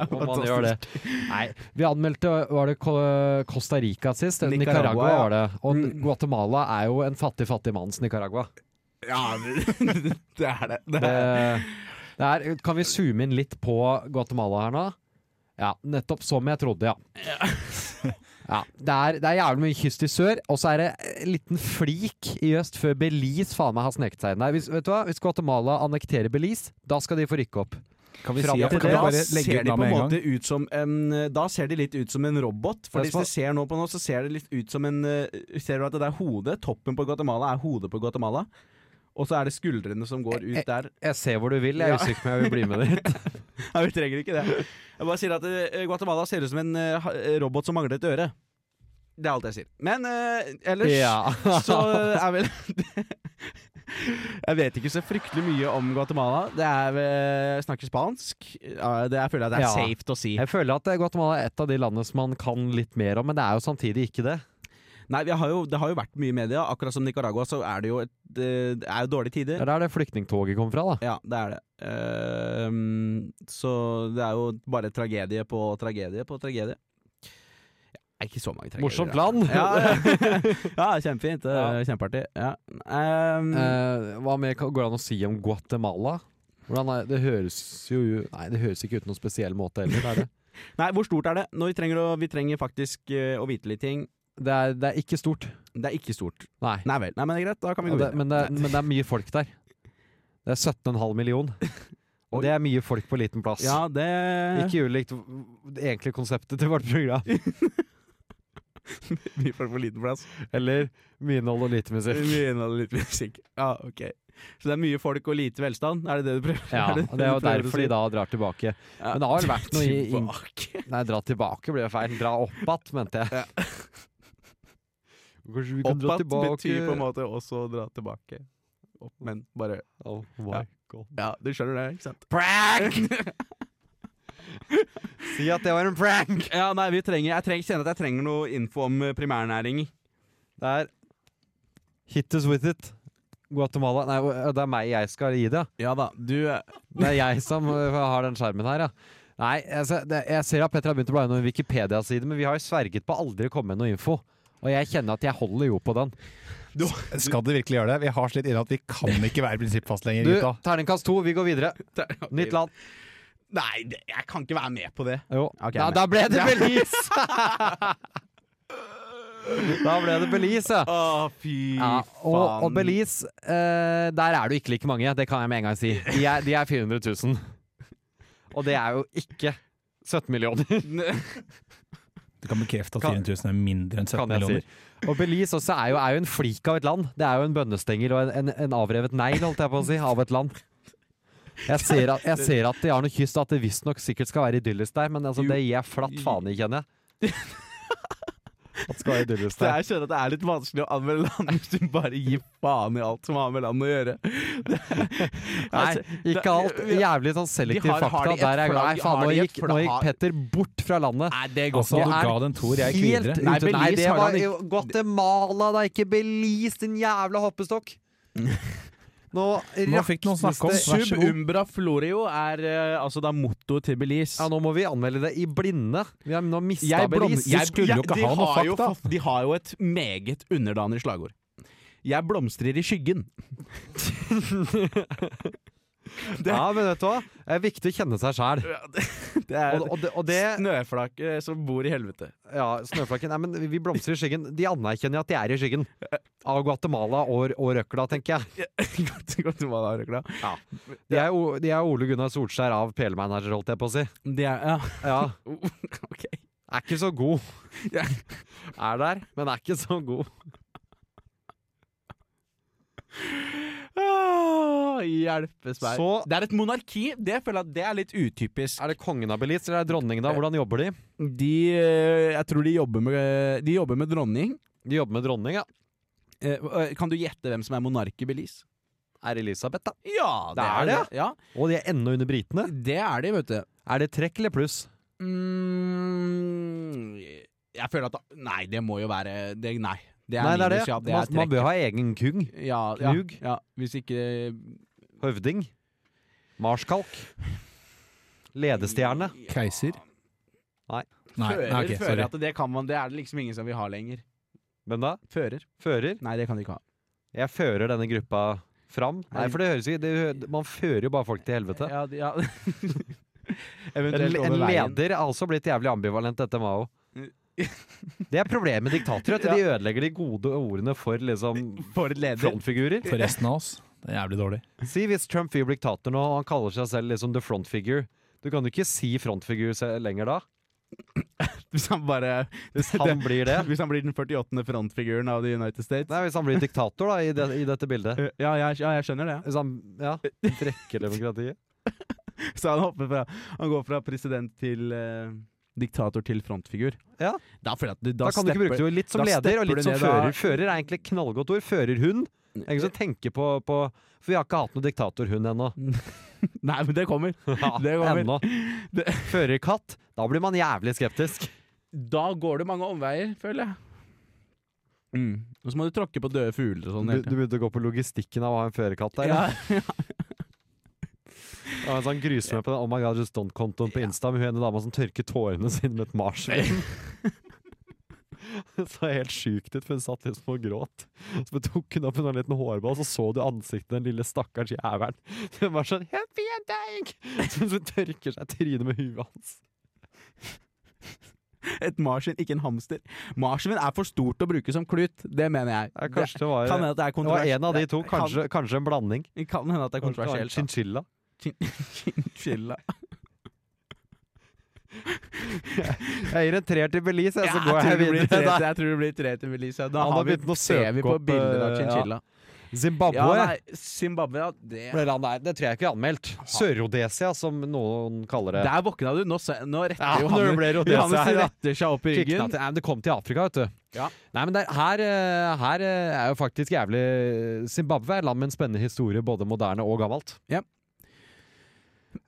Speaker 3: Om man gjør det. Nei, vi anmeldte var det Ko- Costa Rica sist. Eh, Nicaragua,
Speaker 4: Nicaragua, ja.
Speaker 3: var det. Og Guatemala er jo en fattig, fattig manns Nicaragua.
Speaker 4: Ja, det det er det. det,
Speaker 3: Det,
Speaker 4: er.
Speaker 3: det er, kan vi zoome inn litt på Guatemala her nå? Ja, nettopp som jeg trodde, ja. ja det, er, det er jævlig mye kyst i sør, og så er det en liten flik i øst før Belize faen meg har sneket seg inn der. Hvis, vet du hva? Hvis Guatemala annekterer Belize, da skal de få rykke opp.
Speaker 5: Kan vi
Speaker 3: Fram
Speaker 5: si at
Speaker 3: til
Speaker 5: kan vi
Speaker 4: Da
Speaker 5: bare legge
Speaker 4: ser
Speaker 5: ut
Speaker 4: de på
Speaker 5: navnet
Speaker 4: en
Speaker 5: med en
Speaker 4: måte
Speaker 5: gang?
Speaker 4: ut som en Da ser de litt ut som en robot. For
Speaker 3: Det er
Speaker 4: hvis
Speaker 3: som-
Speaker 4: du ser nå på nå, så ser det litt ut som en eh, Ser du at det der hodet, toppen på Guatemala, er hodet på Guatemala? Og så er det skuldrene som går
Speaker 3: Eh,
Speaker 4: ut der.
Speaker 3: Jeg ser hvor du vil, jeg er usikker på om jeg vil bli med dit.
Speaker 4: Nei, vi trenger ikke det. Jeg bare sier at eh, Guatemala ser ut som en eh, ha- eh, robot som mangler et øre. Det er alt jeg sier. Men eh, ellers
Speaker 3: Ja.
Speaker 4: så eh, er vel Jeg vet ikke så fryktelig mye om Guatemala. Det er, eh, jeg snakker spansk. Ja, Det jeg føler jeg det er
Speaker 3: Ja.
Speaker 4: safe å si.
Speaker 3: Jeg føler at Guatemala er et av de landene som man kan litt mer om, men det er jo samtidig ikke det.
Speaker 4: Nei, vi har jo, Det har jo vært mye i media. Akkurat som Nicaragua, så er det jo et, eh, det er jo dårlige
Speaker 3: Det
Speaker 4: tider.
Speaker 3: er der det flyktningtoget kom fra, da.
Speaker 4: Ja, det er det. Ehm, så det er jo bare tragedie på tragedie på tragedie. Ja, ikke så mange tragedier.
Speaker 3: Morsomt
Speaker 4: da.
Speaker 3: land!
Speaker 4: Ja, ja kjempefint. det er Kjempeartig. Ja. Ehm,
Speaker 3: Eh, hva mer kan- går det an å si om Guatemala? Hvordan er, det høres jo Nei, det høres ikke ut noen spesiell måte heller. Er det?
Speaker 4: nei, hvor stort er det? Nå, vi, trenger å, vi trenger faktisk eh, å vite litt ting.
Speaker 3: Det, er, det er ikke stort.
Speaker 4: Det er ikke stort.
Speaker 3: Nei.
Speaker 4: Nei vel. Nei, men det er greit, da kan vi
Speaker 3: Og
Speaker 4: gå
Speaker 3: det,
Speaker 4: videre.
Speaker 3: men, det, er- men det er mye folk der. Det er 17,5 million. Og det er mye folk på liten plass.
Speaker 4: Ja, det
Speaker 3: Ikke ulikt v- det egentlige konseptet til vårt program.
Speaker 4: Mye folk på liten plass.
Speaker 3: Eller mye innhold og lite musikk.
Speaker 4: Mye innhold og litt musikk. Ja, ok. Så det er mye folk og lite velstand? Er det det du prøver?
Speaker 3: Ja,
Speaker 4: er
Speaker 3: og Det er jo
Speaker 4: du prøver å
Speaker 3: derfor
Speaker 4: si?
Speaker 3: de da drar tilbake.
Speaker 4: Ja.
Speaker 3: Men det har vel vært noe i- i-
Speaker 4: Tilbake.
Speaker 3: Nei, dra tilbake blir jo feil. Dra opp att, mente jeg. Kanskje vi
Speaker 4: Opp att betyr på en måte også å dra tilbake. Opp, men bare
Speaker 3: Oh my
Speaker 4: Ja.
Speaker 3: god.
Speaker 4: Ja, du skjønner det, ikke sant?
Speaker 3: Si at det var en prank!
Speaker 4: Ja, nei, vi trenger Jeg trenger, kjenner at jeg trenger noe info om eh, primærnæring.
Speaker 3: Det er Hit us with it. Guatemala Nei, det er meg jeg skal gi det. ja. eh,
Speaker 4: Ja da, du
Speaker 3: Det er jeg som øh, har den skjermen her, ja. Nei, jeg, ser- det, jeg ser at Petter har begynt å bla gjennom en Wikipedia-side, men vi har jo sverget på aldri å komme med noe info. Og jeg kjenner at jeg holder jo på den.
Speaker 5: Skal du virkelig gjøre det? Vi har slitt inne at vi kan ikke være prinsippfast lenger,
Speaker 3: Du,
Speaker 5: gutta.
Speaker 3: terningkast to, vi går videre. Nytt land.
Speaker 4: Nei, det, jeg kan ikke være med på det.
Speaker 3: Jo.
Speaker 4: Ok,
Speaker 3: da,
Speaker 4: men-
Speaker 3: da ble det Belize! da ble det Belize, ja.
Speaker 4: Å, fy
Speaker 3: ja og, og
Speaker 4: faen.
Speaker 3: Belize, eh, der er det jo ikke like mange, det kan jeg med en gang si. De er, de er 400 000. Og det er jo ikke 17 millioner,
Speaker 5: Du kan bekrefte at
Speaker 3: Kan-
Speaker 5: 4000 er mindre enn 17
Speaker 3: kan jeg si.
Speaker 5: millioner.
Speaker 3: Og Belize også er jo, er jo en flik av et land. Det er jo en bønnestenger og en, en, en avrevet negl, holdt jeg på å si, av et land. Jeg ser at, jeg ser at de har noe kyst, at det visstnok sikkert skal være idyllisk der, men altså,
Speaker 4: Jo.
Speaker 3: det gir jeg flatt faen i, kjenner jeg. At det skal være idyllisk
Speaker 4: Så
Speaker 3: der.
Speaker 4: jeg skjønner at det er litt vanskelig å anmelde land hvis du bare gir faen i alt som har med land å gjøre.
Speaker 3: Nei, ikke alt. Jævlig sånn selektiv
Speaker 4: De har- har
Speaker 3: fakta.
Speaker 4: de et
Speaker 3: Der er jeg glad.
Speaker 4: flagg?
Speaker 3: Nei, faen,
Speaker 4: Har
Speaker 3: nå
Speaker 4: de et
Speaker 3: gikk, nå
Speaker 4: flagg?
Speaker 3: gikk Petter bort fra landet.
Speaker 4: Nei, det
Speaker 5: Altså,
Speaker 3: Jeg
Speaker 5: du
Speaker 3: er
Speaker 5: ga den to, jeg gikk
Speaker 3: Helt
Speaker 5: videre.
Speaker 3: ute.
Speaker 4: Nei,
Speaker 3: Nei,
Speaker 4: Belize
Speaker 3: det
Speaker 4: har
Speaker 3: var
Speaker 4: han
Speaker 3: jo Guatemala, det er ikke Belize, din jævla hoppestokk! Nå
Speaker 5: Nå fikk noen snakke om, vær så god.
Speaker 4: Subumbra florio er eh, altså da mottoet til Belize.
Speaker 3: Ja, nå må vi anmelde det i blinde. Vi har nå mista
Speaker 4: Jeg blom-
Speaker 3: Belize.
Speaker 5: jeg- skulle jo ikke
Speaker 4: de
Speaker 5: ha noe
Speaker 4: har jo
Speaker 5: fakta.
Speaker 4: fa- de har jo et meget underdanig slagord. Jeg blomstrer i skyggen.
Speaker 3: Ja, men vet du hva? Det er viktig å kjenne seg sjæl.
Speaker 4: Det er
Speaker 3: Og, og, det- og det
Speaker 4: snøflaket som bor i helvete.
Speaker 3: Ja, snøflakken. Nei, men vi blomstrer i skyggen. De anerkjenner at de er i skyggen. Av Guatemala og, og røkla, tenker jeg.
Speaker 4: Godt, godt du var der, Røkla.
Speaker 3: De er, O- de er Ole Gunnar Solskjær av PL-manager, holdt jeg på å si.
Speaker 4: Det er, ja.
Speaker 3: Ja,
Speaker 4: Ok.
Speaker 3: er ikke så god.
Speaker 4: Ja.
Speaker 3: Er der, men er ikke så god.
Speaker 4: Ah, Åh, hjelpes meg.
Speaker 3: Så-
Speaker 4: det er et monarki. Det føler jeg det er litt utypisk.
Speaker 3: Er det kongen av Belize eller er det dronningen? da? Hvordan jobber de?
Speaker 4: De, eh, jeg tror de jobber med, de jobber med dronning.
Speaker 3: De jobber med dronning, ja.
Speaker 4: Eh, eh, Kan du gjette hvem som er monark i Belize?
Speaker 3: Er Elisabeth, da.
Speaker 4: Ja,
Speaker 3: Det er det,
Speaker 4: Ja,
Speaker 3: Og de er ennå under britene.
Speaker 4: det er de, vet du.
Speaker 3: Er det trekk eller pluss?
Speaker 4: Mm, jeg føler at da, Nei, det må jo være det, Nei. Det er
Speaker 3: Nei, det er det.
Speaker 4: minus, ja. Det
Speaker 3: man,
Speaker 4: er
Speaker 3: man
Speaker 4: trekk.
Speaker 3: bør ha egen kung.
Speaker 4: Ja, ja,
Speaker 3: Knug.
Speaker 4: ja. Hvis ikke
Speaker 3: Høvding. Marskalk. Ledestjerne.
Speaker 5: Keiser?
Speaker 3: Nei.
Speaker 5: Nei,
Speaker 4: Fører,
Speaker 5: nei ok,
Speaker 4: fører
Speaker 5: sorry.
Speaker 4: at det kan man Det er det liksom ingen som vil ha lenger.
Speaker 3: Hvem da?
Speaker 4: Fører?
Speaker 3: Fører.
Speaker 4: Nei, det kan de ikke ha.
Speaker 3: Jeg fører denne gruppa fram. Nei, for det høres ikke det, Man fører jo bare folk til helvete.
Speaker 4: Ja, de- ja.
Speaker 3: En,
Speaker 4: Eventuelt
Speaker 3: en
Speaker 4: over veien.
Speaker 3: leder er også blitt jævlig ambivalent etter Mao. Det er problemet med diktatorer, at de ødelegger de gode ordene for liksom
Speaker 4: For et leder.
Speaker 3: frontfigurer.
Speaker 5: For resten av oss. Det er jævlig dårlig.
Speaker 3: Si hvis Trump blir diktator nå, og han kaller seg selv liksom the front figure. Du kan jo ikke si frontfigur se- lenger da,
Speaker 4: Hvis han bare
Speaker 3: hvis han blir det.
Speaker 4: Hvis han blir den 48. frontfiguren av The United States. Eh,
Speaker 3: Nei, hvis han blir diktator da, i, det, i dette bildet.
Speaker 4: Ja, jeg, ja, jeg skjønner det.
Speaker 3: Hvis han, ja, trekker demokratiet.
Speaker 4: Så han hopper fra Han går fra president til eh, diktator til frontfigur.
Speaker 3: Ja.
Speaker 4: Da føler jeg at du,
Speaker 3: Da, kan du ikke bruke det jo litt som
Speaker 4: da
Speaker 3: leder og
Speaker 4: stepper
Speaker 3: litt
Speaker 4: du
Speaker 3: som
Speaker 4: ned, da.
Speaker 3: fører. Fører er egentlig et knallgodt ord. Førerhund. Det er Ingen som tenker på, på For vi har ikke hatt noen diktatorhund ennå.
Speaker 4: Nei, men det kommer.
Speaker 3: Ja,
Speaker 4: Det kommer.
Speaker 3: ennå.
Speaker 4: Det-
Speaker 3: Førerkatt. Da blir man jævlig skeptisk.
Speaker 4: Da går det mange omveier, føler jeg. Mm. Og så må du tråkke på døde fugler og
Speaker 3: Du,
Speaker 4: sånn. hele tiden.
Speaker 3: begynte å gå på logistikken av å ha en førerkatt der.
Speaker 4: Ja.
Speaker 3: Ja. Det var en sånn grusomhet på den Oh my god, just don't-kontoen på Insta med hun ene dama som tørker tårene sine med et marsvin. Det så helt sjukt ut, for hun satt liksom og gråt. Så bare tok hun opp en sånn liten hårball, så så du ansiktet til den lille stakkars jævelen. Hun var sånn 'Jeg vet deg!' Så hun tørker seg i trynet med huet hans.
Speaker 4: Et marsvin, ikke en hamster. Marsvin er for stort å bruke som klut, det mener jeg.
Speaker 3: Ja, kanskje det var,
Speaker 4: Det kan hende at det er
Speaker 3: det var
Speaker 4: kontroversielt.
Speaker 3: en av de to. Kanskje, kanskje en blanding.
Speaker 4: Kan, kan hende at det er kontroversielt. da.
Speaker 3: Chinchilla.
Speaker 4: Chinchilla.
Speaker 3: Jeg gir en treer til Belize, jeg, så
Speaker 4: Ja,
Speaker 3: går jeg
Speaker 4: tror det blir
Speaker 3: videre.
Speaker 4: tre- jeg tror det blir tre til Melissa. Da
Speaker 3: Han
Speaker 4: har
Speaker 3: har
Speaker 4: vi,
Speaker 3: begynt å
Speaker 4: ser vi
Speaker 3: søke
Speaker 4: på
Speaker 3: opp,
Speaker 4: bilder av
Speaker 3: eh,
Speaker 4: chinchilla.
Speaker 3: Zimbabwe.
Speaker 4: Ja, nei, Zimbabwe, ja. Det,
Speaker 3: Ble land der. Det tror jeg ikke vi anmeldt. Sør-Rhodesia, som noen kaller det.
Speaker 4: der våkna du. Nå, se- nå
Speaker 3: Ja,
Speaker 4: retter
Speaker 3: når det
Speaker 4: Johannes,
Speaker 3: ble Rhodesia
Speaker 4: Johannes
Speaker 3: her, da.
Speaker 4: retter seg opp i
Speaker 3: Kikna
Speaker 4: ryggen.
Speaker 3: til, nei, men det kom til Afrika, vet du.
Speaker 4: Ja.
Speaker 3: Nei, men det er- her, eh, her eh, er jo faktisk jævlig eh, Zimbabwe er et land med en spennende historie, både moderne og gammelt.
Speaker 4: Ja.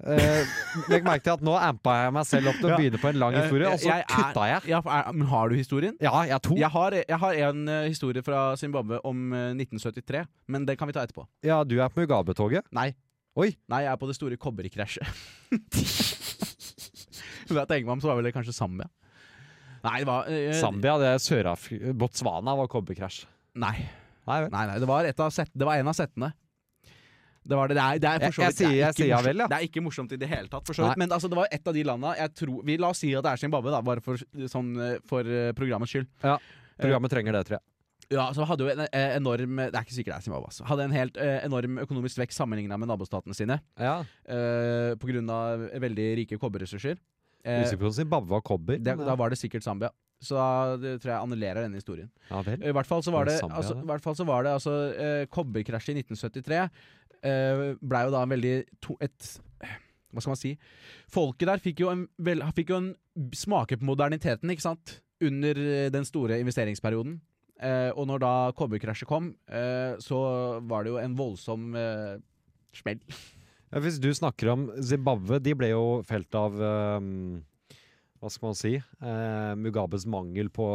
Speaker 3: Eh, legg merke til at nå ampa jeg meg selv opp til å
Speaker 4: Ja.
Speaker 3: begynne på en lang
Speaker 4: Jeg-
Speaker 3: historie, og så
Speaker 4: jeg er-
Speaker 3: kutta Eh, jeg.
Speaker 4: Ja, for er, men har du historien?
Speaker 3: Ja, jeg er to.
Speaker 4: Jeg har, jeg har en eh, historie fra Zimbabwe om eh, 1973, men den kan vi ta etterpå.
Speaker 3: Ja, du er på Mugabe-toget.
Speaker 4: Nei.
Speaker 3: Oi.
Speaker 4: Nei, jeg er på det store kobberkrasjet. Når jeg tenker meg om, så var vel det kanskje Zambia. Nei, det var eh,
Speaker 3: Zambia, det er Sør-Afrika Botswana var kobberkrasj.
Speaker 4: Nei.
Speaker 3: Nei vel.
Speaker 4: Nei, nei, det var, et av set, det var en av settene. Det var det. Det er, det er for så
Speaker 3: Jeg- jeg
Speaker 4: vidt det er
Speaker 3: sier- jeg
Speaker 4: ikke
Speaker 3: sier ja
Speaker 4: morsomt-
Speaker 3: vel, ja.
Speaker 4: Det er ikke morsomt i det hele tatt, for så vidt. Men altså, det var et av de landa jeg tror Vi La oss si at det er Zimbabwe, da, bare for, sånn, eh, for eh, programmets skyld.
Speaker 3: Programmet trenger det, tror jeg.
Speaker 4: Ja, så hadde jo en eh, enorm Det er ikke sikkert det er Zimbabwe, altså. Hadde en helt eh, enorm økonomisk vekst sammenligna med nabostatene sine.
Speaker 3: Ja.
Speaker 4: eh, på grunn av veldig rike kobberressurser. Eh,
Speaker 3: Usikker på om Zimbabwe var kobber.
Speaker 4: det,
Speaker 3: men-
Speaker 4: da var det sikkert Zambia. Så da det tror jeg annullerer denne historien.
Speaker 3: ja vel.
Speaker 4: I hvert fall så
Speaker 3: Var
Speaker 4: var
Speaker 3: det
Speaker 4: det,
Speaker 3: Zambia,
Speaker 4: altså,
Speaker 3: det?
Speaker 4: i hvert fall så var det altså eh, Kobberkrasjet i 1973 eh, blei jo da en veldig to, et, Hva skal man si? Folket der fikk jo en, vel, fikk jo en smake på moderniteten, ikke sant? Under eh, den store investeringsperioden. Eh, og når da kobberkrasjet kom, eh, så var det jo en voldsom eh, smell.
Speaker 3: Ja, hvis du snakker om Zimbabwe, de ble jo felt av ehm, Hva skal man si? Eh, Mugabes mangel på,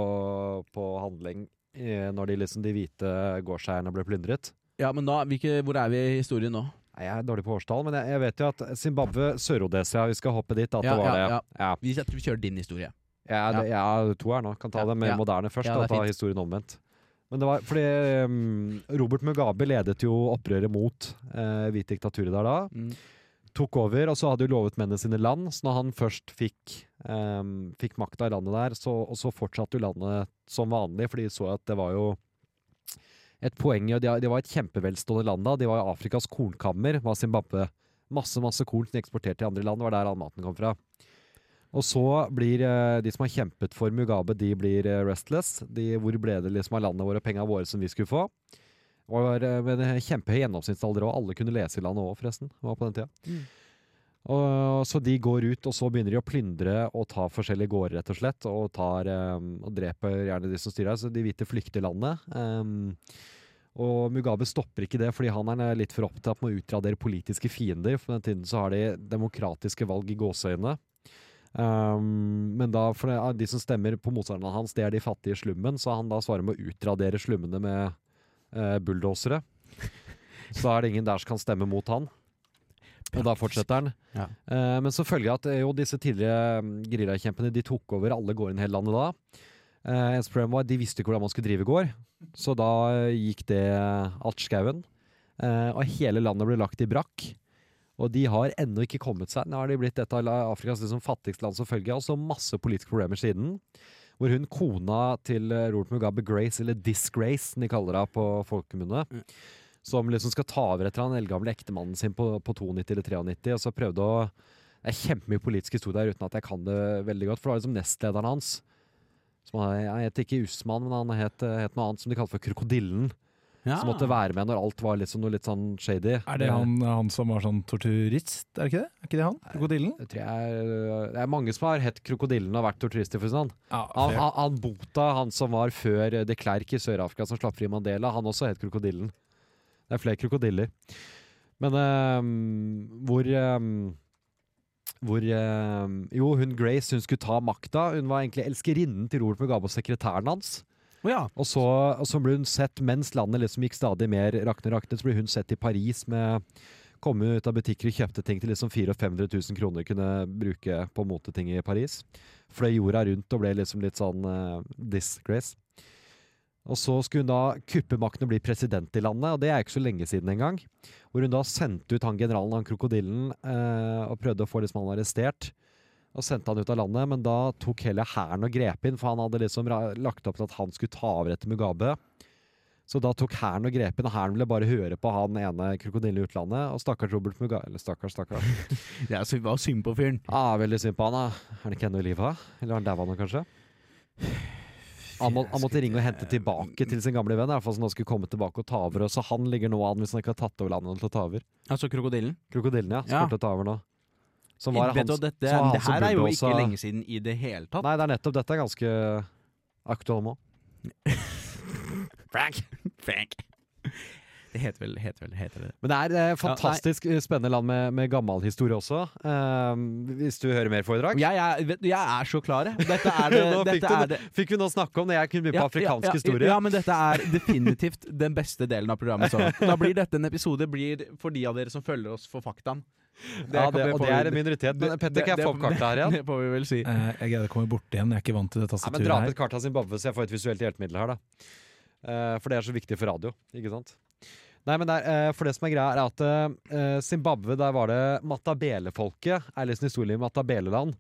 Speaker 3: på handling eh, når de, liksom, de hvite gårdseierne ble plyndret.
Speaker 4: Ja, men da, hvilke, hvor er vi i historien nå?
Speaker 3: Nei, Jeg er dårlig på årstall, men jeg, jeg vet jo at Zimbabwe, Sør-Odesia Vi skal hoppe dit, at
Speaker 4: Ja,
Speaker 3: det var
Speaker 4: ja,
Speaker 3: det. Ja.
Speaker 4: Vi, jeg tror vi kjører din historie.
Speaker 3: Jeg, er- jeg er to her nå. Kan ta
Speaker 4: Ja,
Speaker 3: det mer
Speaker 4: ja.
Speaker 3: moderne først.
Speaker 4: Ja,
Speaker 3: da,
Speaker 4: det er
Speaker 3: ta
Speaker 4: fint.
Speaker 3: historien omvendt. Men det var fordi ehm, Robert Mugabe ledet jo opprøret mot eh, hvit diktatur der da.
Speaker 4: Mm.
Speaker 3: tok over, og så hadde jo lovet mennene sine land. Så når han først fikk, um, fikk makta i landet der, så, og så fortsatte jo landet som vanlig, for de så at det var jo et poeng i og De, de var et kjempevelstående land da. De var jo Afrikas kornkammer, var Zimbabwe. Masse, masse korn som de eksporterte til andre land. Det var der all maten kom fra. Og så blir eh, de som har kjempet for Mugabe, de blir eh, restless. De, hvor ble det liksom av landet våre og penga våre som vi skulle få? Var eh, med en kjempehøy gjennomsnittsalder, og alle kunne lese i landet òg, forresten. Var på den tida. Og, så de går ut, og så begynner de å plyndre og ta forskjellige gårder, rett og slett. Og, tar, eh, og dreper gjerne de som styrer her, så de hvite flykter landet. Eh, og Mugabe stopper ikke det, fordi han er litt for opptatt med å utradere politiske fiender. For på den tiden så har de demokratiske valg i gåseøynene. Um, men da, for det, de som stemmer på motstanderne hans, det er de fattige i slummen, så han da svarer med å utradere slummene med uh, bulldosere. Så da er det ingen der som kan stemme mot han. Og da fortsetter han.
Speaker 4: Ja.
Speaker 3: Eh, men så følger jeg at eh, jo, disse tidligere mm, geriljakjempene de tok over alle gårdene i hele landet da. Eh, eneste problem var at de visste ikke hvordan man skulle drive gård, så da eh, gikk det altskauen. Eh, og hele landet ble lagt i brakk. Og de har ennå ikke kommet seg. Nå har de blitt et av la- Afrikas liksom fattigste land som følge, og så masse politiske problemer siden. Hvor hun kona til eh, Robert Mugabe Grace, eller Disgrace, som de kaller henne på folkemunne,
Speaker 5: Mm.
Speaker 3: som liksom skal ta over etter han eldgamle ektemannen sin på, på 92 eller 93, og så prøvde å Det er kjempemye politisk historie der uten at jeg kan det veldig godt, for det var liksom nestlederen hans. Som han, han het ikke Usman, men han het, het noe annet som de kalte for Krokodillen. Som måtte være med når alt var liksom noe litt sånn shady.
Speaker 5: Ah. Er det han, han som var sånn torturist? Er det ikke det? Er ikke det han? Krokodillen?
Speaker 3: Det, tror jeg er, det er mange som har hett Krokodillen og vært torturister. for å si det sånn.
Speaker 5: Ja,
Speaker 3: Han,
Speaker 5: fair.
Speaker 3: han, han Bota, han som var før de Klerk i Sør-Afrika, som slapp fri Mandela, han også het Krokodillen. Det er flere krokodiller. Men ehm, hvor ehm, hvor ehm, Jo, hun Grace hun skulle ta makta. Hun var egentlig elskerinnen til Robert Mugabe og sekretæren hans.
Speaker 4: Å ja.
Speaker 3: Og så, og så ble hun sett, mens landet liksom gikk stadig mer rakne rakne, så ble hun sett i Paris med Komme ut av butikker og kjøpte ting til liksom 400 000-500 000 kroner kunne bruke på moteting i Paris. Fløy jorda rundt og ble liksom litt sånn eh, disgrace. Og så skulle hun da kuppe makten og bli president i landet, og det er ikke så lenge siden engang. Hvor hun da sendte ut han generalen, han krokodillen, eh, og prøvde å få liksom han arrestert. Og sendte han ut av landet, men da tok hele hæren og grep inn, for han hadde liksom ra- lagt opp til at han skulle ta over etter Mugabe. Så da tok hæren og grep inn, og hæren ville bare høre på han ene krokodillen i utlandet. Og stakkars Robert Mugabe Eller stakkars, stakkars.
Speaker 4: ja så det var synd på fyren.
Speaker 3: Ja, veldig synd på han. da. Er han ikke ennå i live? da? Eller har han daua nå, kanskje? Han, må, han måtte ringe og hente tilbake til sin gamle venn, i hvert fall som da skulle komme tilbake og ta over. og Så han ligger nå an, hvis han ikke har tatt over landet til å ta over.
Speaker 4: Altså krokodillen.
Speaker 3: Krokodillen, ja. Som
Speaker 4: Ja.
Speaker 3: kommer til å ta over nå. Som var
Speaker 4: Vet du,
Speaker 3: hans-
Speaker 4: hva, dette,
Speaker 3: som var han
Speaker 4: det
Speaker 3: som
Speaker 4: her er jo
Speaker 3: bulldosa-
Speaker 4: ikke lenge siden i det hele tatt.
Speaker 3: Nei, det er nettopp dette er ganske aktuell nå.
Speaker 4: Frank! Frank. Det heter vel, heter vel, heter det.
Speaker 3: Men det er eh, fantastisk eh, spennende land med, med gammel historie også. Eh, hvis du hører mer foredrag.
Speaker 4: Jeg, er- vet du, jeg er så klar, jeg. Dette er det.
Speaker 3: nå fikk,
Speaker 4: dette
Speaker 3: du,
Speaker 4: er det.
Speaker 3: fikk vi nå snakke om det jeg kunne begynne på afrikansk
Speaker 4: ja,
Speaker 3: historie?
Speaker 4: Ja, men dette er definitivt den beste delen av programmet. Så. Da blir dette en episode blir for de av dere som følger oss for faktaen.
Speaker 3: Ja,
Speaker 4: kan
Speaker 3: det,
Speaker 4: vi
Speaker 3: og
Speaker 4: få-
Speaker 3: det er en minoritet. Men Petter, kan jeg få opp kartet her igjen?
Speaker 4: Det får vi vel si.
Speaker 5: Eh, jeg greide å komme bort igjen, jeg er ikke vant til det
Speaker 3: Nei, men
Speaker 5: tastaturet
Speaker 3: Dra opp
Speaker 5: her.
Speaker 3: et kart av Zimbabwe, så jeg får et visuelt hjelpemiddel her. da Eh, For det er så viktig for radio. ikke sant? Nei, men der, eh, for det som er greia, er at eh, Zimbabwe, der var det Matabele-folket. er liksom historien i Matabeleland.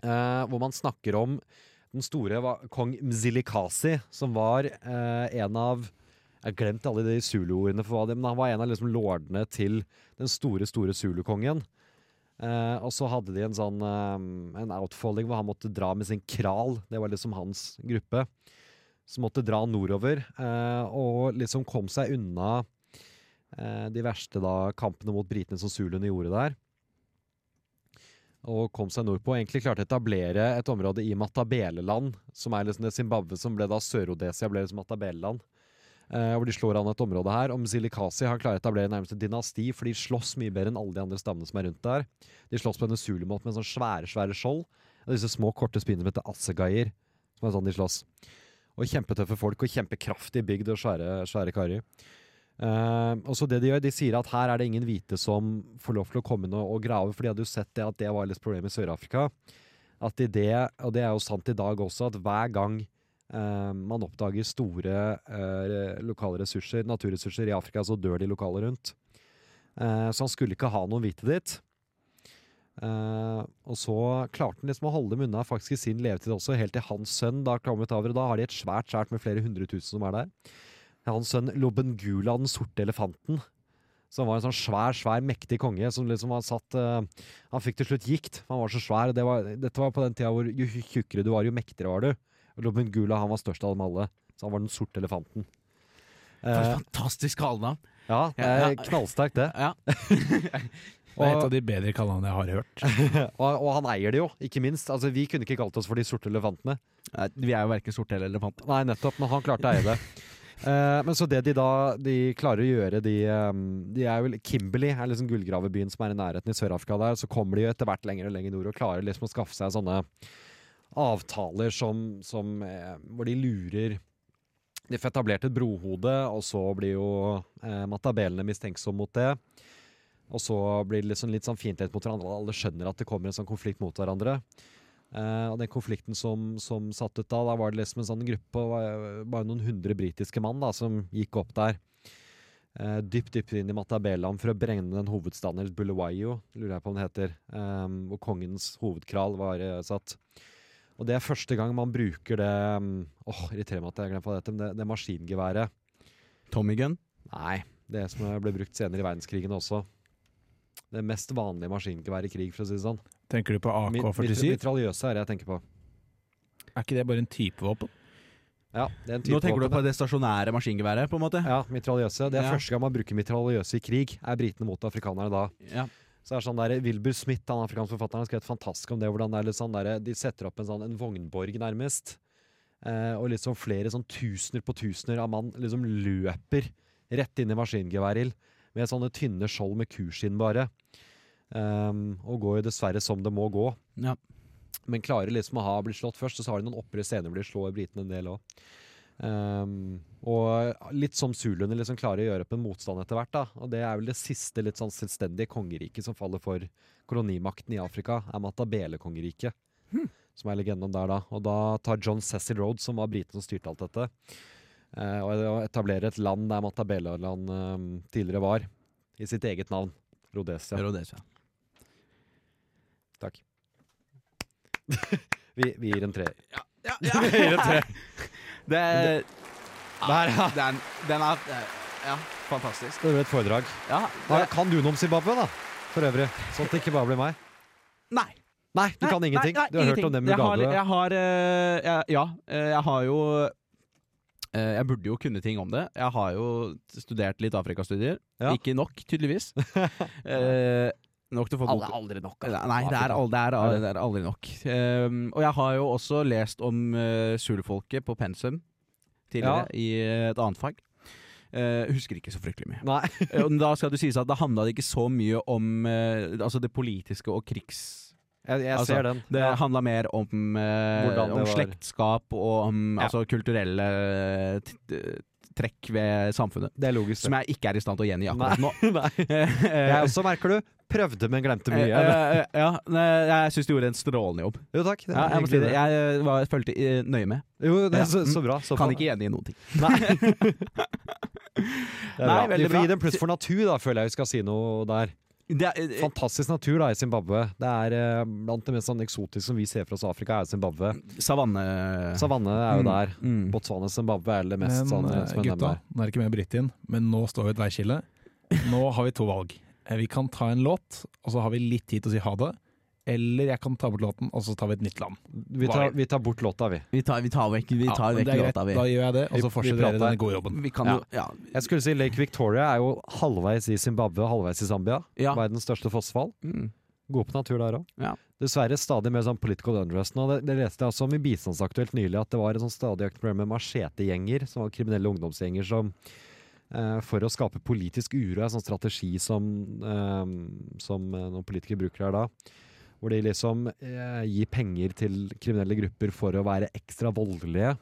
Speaker 3: eh, hvor man snakker om den store va- kong Mzilikasi, som var eh, en av Jeg har glemt alle de zulu-ordene, for hva det, men han var en av liksom lordene til den store, store zulu-kongen. Eh, og så hadde de en sånn eh, En outfolding hvor han måtte dra med sin kral. Det var liksom hans gruppe. Som måtte dra nordover eh, og liksom kom seg unna eh, de verste da kampene mot britene som zuluene gjorde der. Og kom seg nordpå. Egentlig klarte å etablere et område i Matabeleland, som er liksom det Zimbabwe som ble da Sør-Odesia, ble liksom Matabeleland. Eh, hvor de slår an et område her. Og Mzilikasi har klart å etablere nærmest et dynasti, for de slåss mye bedre enn alle de andre stammene som er rundt der. De slåss på denne sulemåten med sånne svære svære skjold. Og disse små, korte spinene som heter assegaier. Som er sånn de slåss. Og kjempetøffe folk og kjempekraftig bygd og svære, svære karer. Eh, og så det De gjør, de sier at her er det ingen hvite som får lov til å komme inn og, og grave. For de hadde jo sett det at det var litt problem i Sør-Afrika. At i det, Og det er jo sant i dag også, at hver gang eh, man oppdager store eh, lokale ressurser, naturressurser i Afrika, så dør de lokale rundt. Eh, så han skulle ikke ha noen hvite dit. Eh, og så klarte han liksom å holde dem unna faktisk i sin levetid også, helt til hans sønn da kom ut over. Og da har de et svært skjært med flere hundre tusen som er der. Hans sønn Lobengula, den sorte elefanten, som var en sånn svær, svær, mektig konge som liksom var satt eh, Han fikk til slutt gikt, for han var så svær. og Det var, dette var på den tida hvor jo tjukkere du var, jo mektigere var du. Og Lobengula han var størst av dem alle, så han var den sorte elefanten.
Speaker 4: For
Speaker 3: Eh,
Speaker 4: et fantastisk kallenavn.
Speaker 3: ja, det
Speaker 4: Ja,
Speaker 3: er
Speaker 4: ja.
Speaker 3: knallsterkt, det.
Speaker 4: Ja.
Speaker 5: Det er et av de bedre kallenavnene jeg har hørt.
Speaker 3: Og, og han eier det jo, ikke minst. Altså, vi kunne ikke kalt oss for de sorte elefantene.
Speaker 4: Nei, Vi er jo verken sorte eller elefanter.
Speaker 3: Nei, nettopp, men han klarte å eie det. Eh, men så det de da de klarer å gjøre de, eh, de er vel, Kimberley er liksom gullgravebyen som er i nærheten i Sør-Afrika der. Så kommer de jo etter hvert lenger og lenger nord og klarer liksom å skaffe seg sånne avtaler som, som eh, Hvor de lurer De får etablert et brohode, og så blir jo eh, matabelene mistenksomme mot det. Og så blir det liksom litt sånn fiendtlighet mot hverandre. og Alle skjønner at det kommer en sånn konflikt mot hverandre. Eh, og den konflikten som, som satt ut da, da var det liksom en sånn gruppe, og var- bare noen hundre britiske mann da, som gikk opp der. Eh, dypt, dypt inn i Matabeleland for å brenne den hovedstaden, eller Bulawayo, lurer jeg på om det heter, eh, hvor kongens hovedkral var eh, satt. Og det er første gang man bruker det, mm, åh, irriterer meg at jeg har glemt hva det heter, men det, det maskingeværet.
Speaker 4: Tommy Gunn.
Speaker 3: Nei, det som ble brukt senere i verdenskrigen også. Det mest vanlige maskingeværet i krig, for å si det sånn.
Speaker 5: Tenker du på
Speaker 3: Mi-
Speaker 5: AK-47?
Speaker 3: Mitraljøse er det jeg tenker på.
Speaker 5: Er ikke det bare en type våpen?
Speaker 3: Ja, det er en type
Speaker 4: Nå tenker
Speaker 3: våpen,
Speaker 4: du på det stasjonære maskingeværet, på en måte?
Speaker 3: Ja, mitraljøse. Det er
Speaker 4: Ja.
Speaker 3: første gang man bruker mitraljøse i krig, er britene mot afrikanerne da.
Speaker 4: Ja.
Speaker 3: Så det er sånn der, Wilbur Smith, han afrikanske forfatteren, har skrevet fantastisk om det. hvordan det er litt sånn der, De setter opp en sånn en vognborg, nærmest. Eh, og liksom flere sånn tusener på tusener av mann liksom løper rett inn i maskingeværild med sånne tynne skjold med kuskinn bare. Ehm, og går jo dessverre som det må gå.
Speaker 4: Ja.
Speaker 3: Men klarer liksom å ha blitt slått først, og så har de noen opprør senere hvor de slår britene en del òg. Ehm, og litt som zuluene liksom klarer å gjøre opp en motstand etter hvert. da Og det er vel det siste litt sånn selvstendige kongeriket som faller for kolonimakten i Afrika, er Matabele-kongeriket. Som er legenden om der, da. Og da tar John Cecil Rhodes, som var briten som styrte alt dette, eh, og etablerer et land der Matabele-land eh, tidligere var, i sitt eget navn. Rhodesia.
Speaker 4: Rhodesia.
Speaker 3: Takk. Vi, vi gir en treer.
Speaker 4: Ja, ja. det, det,
Speaker 3: Ah,
Speaker 4: ja, den, den er Ja, fantastisk.
Speaker 3: eh, Det var et foredrag.
Speaker 4: Ja,
Speaker 3: Nei,
Speaker 4: det,
Speaker 3: kan du noe om Zimbabwe, da? For øvrig. Sånn at det ikke bare blir meg.
Speaker 4: nei.
Speaker 3: Nei, du kan
Speaker 4: Nei,
Speaker 3: ingenting.
Speaker 4: nei, nei,
Speaker 3: du har
Speaker 4: ingenting.
Speaker 3: hørt om det
Speaker 4: Jeg har-
Speaker 3: Mugabe.
Speaker 4: Jeg har, eh, jeg, Ja, eh, jeg har jo eh, Jeg burde jo kunne ting om det. Jeg har jo studert litt Afrikastudier.
Speaker 3: Ja.
Speaker 4: Ikke nok, tydeligvis. Eh, nok til å få bok.
Speaker 3: aldri nok.
Speaker 4: Nei, nei, det er, al- det, er, det er aldri nok. Ehm, og jeg har jo også lest om uh, zulfolket på pensum tidligere, i et annet fag. Eh, husker ikke så fryktelig mye.
Speaker 3: Nei.
Speaker 4: Eh, og da skal det sies at det handla ikke så mye om eh, altså det politiske og krigs...
Speaker 3: Jeg, jeg
Speaker 4: Altså,
Speaker 3: ser den.
Speaker 4: Det
Speaker 3: Ja.
Speaker 4: handla mer om, eh,
Speaker 3: Hvordan det
Speaker 4: om
Speaker 3: var.
Speaker 4: slektskap og om
Speaker 3: Ja.
Speaker 4: altså, kulturelle eh, t t- trekk ved samfunnet.
Speaker 3: Det er logisk.
Speaker 4: Som
Speaker 3: det.
Speaker 4: jeg ikke er i stand til å gjengi akkurat nå.
Speaker 3: nei.
Speaker 4: Eh,
Speaker 3: Jeg også merker du. Prøvde, men glemte
Speaker 4: eh,
Speaker 3: mye.
Speaker 4: eh, ja, nei, jeg syns du gjorde en strålende jobb.
Speaker 3: Jo takk. det er
Speaker 4: Ja, jeg må si
Speaker 3: hyggelig
Speaker 4: det.
Speaker 3: det.
Speaker 4: Jeg eh, var, fulgte eh, nøye med.
Speaker 3: Jo, det er så, så bra. Så
Speaker 4: Kan
Speaker 3: bra.
Speaker 4: ikke gjengi noen ting.
Speaker 3: Det er
Speaker 4: Nei,
Speaker 3: bra.
Speaker 4: veldig
Speaker 3: Vi får
Speaker 4: bra.
Speaker 3: gi dem pluss for natur, da, føler jeg vi skal si noe der.
Speaker 4: Det er, eh,
Speaker 3: Fantastisk natur da i Zimbabwe. Det er eh, blant det mest sånn eksotiske som vi ser for oss i Afrika, er Zimbabwe.
Speaker 4: savanne...
Speaker 3: Savanne er jo
Speaker 4: Mm,
Speaker 3: der.
Speaker 4: mm.
Speaker 3: Botswana Zimbabwe er det mest
Speaker 5: Men
Speaker 3: sånn,
Speaker 5: eh,
Speaker 3: som jeg
Speaker 5: gutta,
Speaker 3: nevner.
Speaker 5: nå er det ikke mer britt inn, men nå står vi ved et veiskille. Nå har vi to valg. Eh, Vi kan ta en låt, og så har vi litt tid til å si ha det. Eller jeg kan ta bort låten, og så tar vi et nytt land.
Speaker 3: Vi tar, vi tar bort låta, vi.
Speaker 4: Vi tar, vi tar vekk, vi
Speaker 5: Ja,
Speaker 4: tar
Speaker 5: men
Speaker 4: vekk
Speaker 5: det er greit,
Speaker 4: låta, vi.
Speaker 5: Da gjør jeg det, og
Speaker 3: Vi- vi
Speaker 5: så fortsetter dere
Speaker 3: prater.
Speaker 5: denne gode jobben.
Speaker 4: Vi kan jo ja.
Speaker 3: Jeg skulle si Lake Victoria er jo halvveis i Zimbabwe og halvveis i Zambia.
Speaker 4: Ja.
Speaker 3: Verdens største fossefall.
Speaker 4: Mm.
Speaker 3: God på natur der òg.
Speaker 4: Ja.
Speaker 3: Dessverre stadig mer sånn political unrest nå. Det, det leste jeg også om i Bistandsaktuelt nylig, at det var en sånn stadig økt problem med machetegjenger, som var kriminelle ungdomsgjenger som eh, for å skape politisk uro, en sånn strategi som, eh, som eh, noen politikere bruker her da. Hvor de liksom eh, gir penger til kriminelle grupper for å være ekstra voldelige.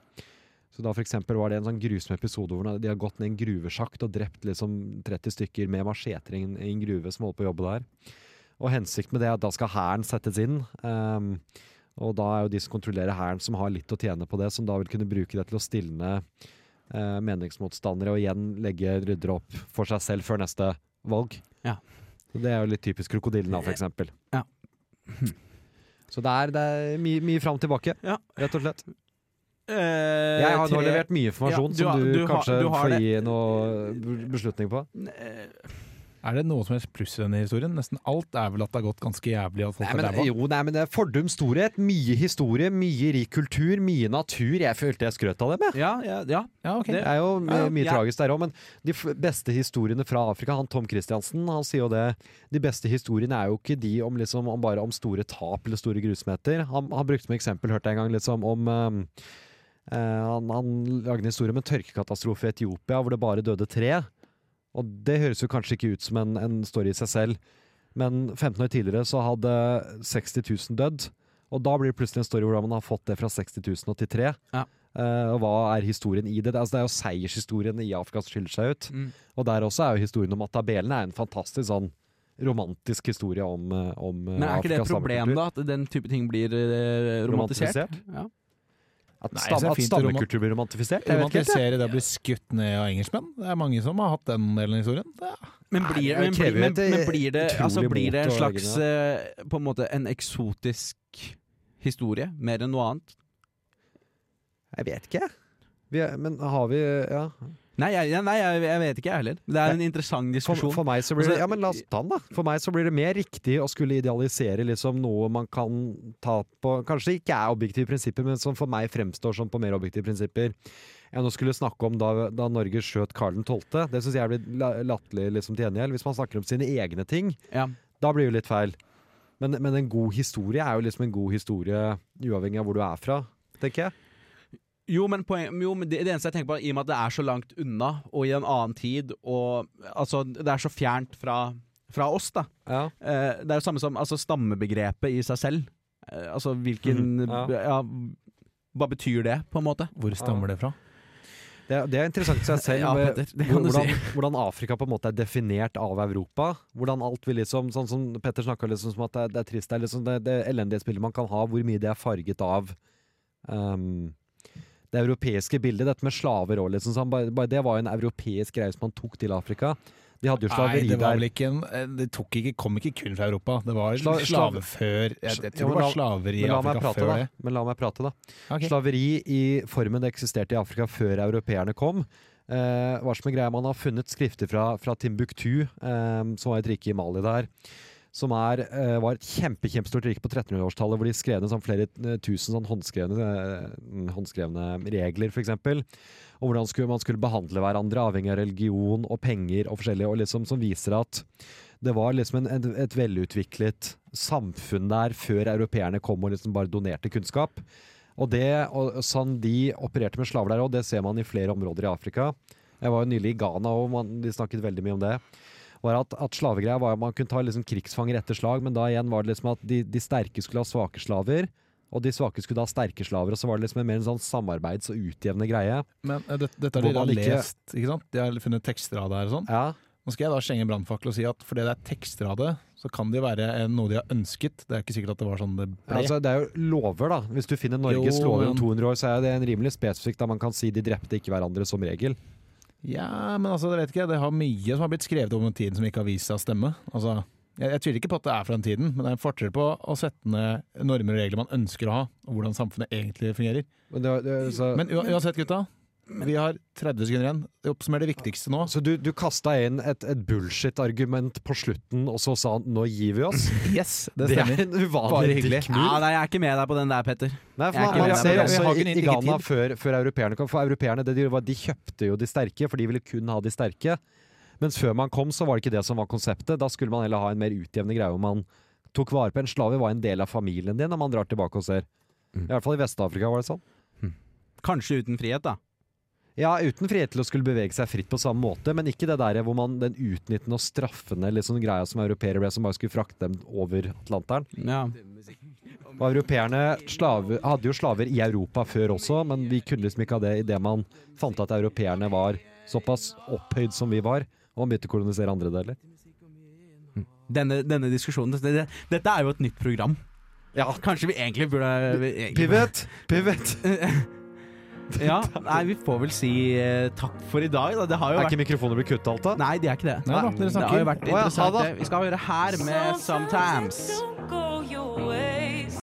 Speaker 3: Så da for eksempel var det en sånn grusom episode hvor de har gått ned en gruvesjakt og drept liksom 30 stykker med macheter i en- i en gruve som holder på å jobbe der. Og hensikten med det er at da skal hæren settes inn. ehm, og da er jo de som kontrollerer hæren som har litt å tjene på det, som da vil kunne bruke det til å stilne eh, meningsmotstandere og igjen legge ryddere opp for seg selv før neste valg.
Speaker 4: Ja.
Speaker 3: Så det er jo litt typisk krokodillen da, for eksempel.
Speaker 4: Ja.
Speaker 3: Så det er, det er mye, mye fram og tilbake,
Speaker 4: Ja.
Speaker 3: rett og slett.
Speaker 4: Eh,
Speaker 3: Jeg har nå
Speaker 4: tre-
Speaker 3: levert mye informasjon
Speaker 4: Ja, du har-
Speaker 3: som du,
Speaker 4: du har-
Speaker 3: kanskje
Speaker 4: du har
Speaker 3: får
Speaker 4: det.
Speaker 3: gi noe beslutning på.
Speaker 4: Eh,
Speaker 5: Er det noe som helst pluss i denne historien? Nesten alt er vel at det har gått ganske jævlig at folk
Speaker 3: Nei,
Speaker 5: er
Speaker 3: men,
Speaker 5: ræva.
Speaker 3: jo, nei, men det er fordums storhet. Mye historie, mye rik kultur, mye natur. Jeg følte jeg skrøt av dem, jeg.
Speaker 4: Ja, ja, ja.
Speaker 5: Ja, ok.
Speaker 3: Det er jo my-
Speaker 4: Ja,
Speaker 3: mye
Speaker 4: ja.
Speaker 3: tragisk der òg, men de f beste historiene fra Afrika Han Tom Christiansen han sier jo det. De beste historiene er jo ikke de om, liksom, om bare om store tap eller store grusomheter. Han, han brukte som eksempel, hørte jeg en gang, liksom, om ehm, eh, han, han lagde en historie om en tørkekatastrofe i Etiopia hvor det bare døde tre. Og det høres jo kanskje ikke ut som en, en story i seg selv, men 15 år tidligere så hadde 60 000 dødd. Og da blir det plutselig en story hvordan man har fått det fra 60 000 og til tre.
Speaker 4: Ja.
Speaker 3: Eh, og hva er historien i det? Det er- Altså, det er jo seiershistorien i Afrika som skiller seg ut.
Speaker 4: Mm.
Speaker 3: Og der også er jo historien om atabelene er en fantastisk sånn romantisk historie om, eh, om eh,
Speaker 4: Men er ikke det et
Speaker 3: Afrikas
Speaker 4: problem,
Speaker 3: samekultur.
Speaker 4: da? At den type ting blir eh, romantisert?
Speaker 3: Romantisert?
Speaker 4: Ja.
Speaker 3: At,
Speaker 5: Nei,
Speaker 3: stam,
Speaker 5: så er det
Speaker 3: at
Speaker 5: fint å roman-
Speaker 3: stammekultur blir romantifisert? Jeg vet ikke helt, jeg.
Speaker 5: Romantisere det å bli skutt ned av engelskmenn. Det er mange som har hatt den delen av historien. Det er,
Speaker 4: Men
Speaker 3: Nei,
Speaker 4: blir,
Speaker 3: det
Speaker 4: men,
Speaker 3: krever
Speaker 4: blir,
Speaker 3: jo
Speaker 4: men,
Speaker 3: et,
Speaker 4: men blir det,
Speaker 3: utrolig
Speaker 4: altså, blir det en
Speaker 3: mot å lage
Speaker 4: slags eh, På en måte en eksotisk historie, mer enn noe annet?
Speaker 3: Jeg vet ikke. Vi er, men har vi Ja.
Speaker 4: Nei, jeg, ja, nei, jeg, jeg vet ikke, jeg heller. Det er en interessant
Speaker 3: For,
Speaker 4: diskusjon.
Speaker 3: for meg så blir det
Speaker 4: Altså,
Speaker 3: Ja, men la oss ta den, da. For meg så blir det mer riktig å skulle idealisere liksom noe man kan ta på Kanskje ikke er objektive prinsipper, men som for meg fremstår som på mer objektive prinsipper. Enn å skulle snakke om da, da Norge skjøt Karl 12. Det syns jeg blir la- latterlig liksom, til gjengjeld. Hvis man snakker om sine egne ting,
Speaker 4: Ja.
Speaker 3: da blir det jo litt feil. Men, men en god historie er jo liksom en god historie uavhengig av hvor du er fra, tenker jeg.
Speaker 4: Jo, men, poeng, jo, men det, det eneste jeg tenker på, i og med at det er så langt unna, og i en annen tid, og altså, det er så fjernt fra, fra oss, da.
Speaker 3: Ja.
Speaker 4: Eh, det er jo samme som altså, stammebegrepet i seg selv. Eh, altså hvilken
Speaker 3: Mhm, ja.
Speaker 4: ja. hva betyr det, på en måte?
Speaker 5: hvor stammer det fra?
Speaker 3: Det, er- det er interessant i seg selv.
Speaker 4: Ja,
Speaker 3: hvor-
Speaker 4: Petter, det kan
Speaker 3: hvor-
Speaker 4: du si.
Speaker 3: hvordan, hvordan Afrika på en måte er definert av Europa. Hvordan alt vi liksom, sånn som Petter snakka liksom som at det, er- det er trist, det er liksom det, det elendighetsbildet man kan ha, hvor mye det er farget av ehm, det europeiske bildet. Dette med slaver òg, liksom. sånn, bare, bare det var jo en europeisk greie som man tok til Afrika. De hadde jo
Speaker 5: Nei,
Speaker 3: slaveri
Speaker 5: det var
Speaker 3: der.
Speaker 5: vel ikke en eh, Det tok ikke, kom ikke kun fra Europa. Det var
Speaker 3: Sla-
Speaker 5: slave,
Speaker 3: slave-
Speaker 5: før Jeg, jeg tror
Speaker 3: Ja, men
Speaker 5: det
Speaker 3: la-
Speaker 5: var slaver i
Speaker 3: Men la, meg
Speaker 5: Afrika
Speaker 3: prate,
Speaker 5: før
Speaker 3: da.
Speaker 5: det.
Speaker 3: men la meg prate, da.
Speaker 5: Ok.
Speaker 3: Slaveri i formen det eksisterte i Afrika før europeerne kom. Eh, hva som er greia, Man har funnet skrifter fra, fra Timbuktu, eh, som var et rike i Mali der. Som er, eh, var et kjempe, kjempestort rike på 1300-årstallet, hvor de skrev ned sånn flere eh, tusen sånn håndskrevne, eh, håndskrevne regler, f.eks. Og hvordan skulle, man skulle behandle hverandre, avhengig av religion og penger og forskjellig. Og liksom, som viser at det var liksom en, en, et velutviklet samfunn der før europeerne kom og liksom bare donerte kunnskap. Og det, og sånn de opererte med slaver der òg, det ser man i flere områder i Afrika. Jeg var jo nylig i Ghana og man, de snakket veldig mye om det. Var at, at slavegreia var at man kunne ta liksom krigsfanger etter slag, men da igjen var det liksom at de, de sterke skulle ha svake slaver, og de svake skulle ha sterke slaver. Og så var det liksom en mer en sånn samarbeids- og utjevnende greie.
Speaker 5: Men eh, det, dette har
Speaker 3: Hvor
Speaker 5: de da
Speaker 3: man ikke-
Speaker 5: lest, ikke sant? De har funnet tekster av det her og sånn.
Speaker 3: Ja,
Speaker 5: Nå skal jeg da slenge en brannfakkel og si at fordi det er tekster av det, så kan det jo være eh, noe de har ønsket. Det er ikke sikkert at det var sånn det ble.
Speaker 3: altså Det er jo lover, da. Hvis du finner Norges
Speaker 5: Jo,
Speaker 3: lover
Speaker 5: men-
Speaker 3: om 200 år, så er det en rimelig spesifikk da man kan si de drepte ikke hverandre, som regel.
Speaker 5: Ja, men altså, jeg vet ikke, det har mye som har blitt skrevet om den tiden som ikke har vist seg å stemme. Altså, jeg, jeg tviler ikke på at det er fra den tiden, men det er en forskjell på å sette ned normer og regler man ønsker å ha, og hvordan samfunnet egentlig fungerer.
Speaker 3: Men det, det, så,
Speaker 5: Men u uansett, gutta. Vi har 30 sekunder igjen. Oppsummer det viktigste nå.
Speaker 3: Så Altså, du, du kasta inn et, et bullshit-argument på slutten, og så sa han 'nå gir vi oss'?
Speaker 5: Yes, det
Speaker 3: Det
Speaker 5: stemmer.
Speaker 3: er en
Speaker 5: Bare
Speaker 3: uvanlig
Speaker 5: hyggelig.
Speaker 3: dikkmove.
Speaker 4: Ja, nei, jeg er ikke med deg på den der, Petter.
Speaker 3: Nei,
Speaker 4: Jeg er
Speaker 3: for
Speaker 4: ikke
Speaker 3: man,
Speaker 4: med
Speaker 3: man
Speaker 4: deg.
Speaker 3: ser
Speaker 5: Men
Speaker 3: også
Speaker 5: vi har
Speaker 3: i,
Speaker 5: ikke
Speaker 3: i
Speaker 5: tid.
Speaker 3: Ghana før, før europeerne kom. For europeerne det de, gjorde var, at de kjøpte jo de sterke, for de ville kun ha de sterke. Mens før man kom, så var det ikke det som var konseptet. Da skulle man heller ha en mer utjevnende greie hvor man tok vare på en slave. var en del av familien din, når man drar tilbake og ser. I hvert fall i Vest-Afrika var det sånn.
Speaker 4: Kanskje uten frihet, da.
Speaker 3: Ja, uten frihet til å skulle bevege seg fritt på samme måte, men ikke det der hvor man den utnyttende og straffende liksom, greia som europeere ble, som bare skulle frakte dem over Atlanteren.
Speaker 4: Ja.
Speaker 3: Og europeerne slave, hadde jo slaver i Europa før også, men vi kunne liksom ikke ha det idet man fant at europeerne var såpass opphøyd som vi var, og man begynte å kolonisere andre deler.
Speaker 4: Denne, denne diskusjonen det, det, Dette er jo et nytt program.
Speaker 3: Ja.
Speaker 4: Kanskje vi egentlig burde vi egentlig,
Speaker 3: Pivot! Pivot!
Speaker 4: Ja, nei, vi får vel si eh, takk for i dag, da. Det har jo
Speaker 3: Er
Speaker 4: vært
Speaker 3: ikke mikrofoner blitt kutta alt, da?
Speaker 4: Nei, de er ikke det.
Speaker 5: Nei da, dere
Speaker 4: det har
Speaker 5: snakker.
Speaker 4: jo vært
Speaker 3: Å ja, ha
Speaker 4: interessant.
Speaker 3: det.
Speaker 4: det. Vi skal høre her med Sometimes.
Speaker 7: Sometimes it don't go your way.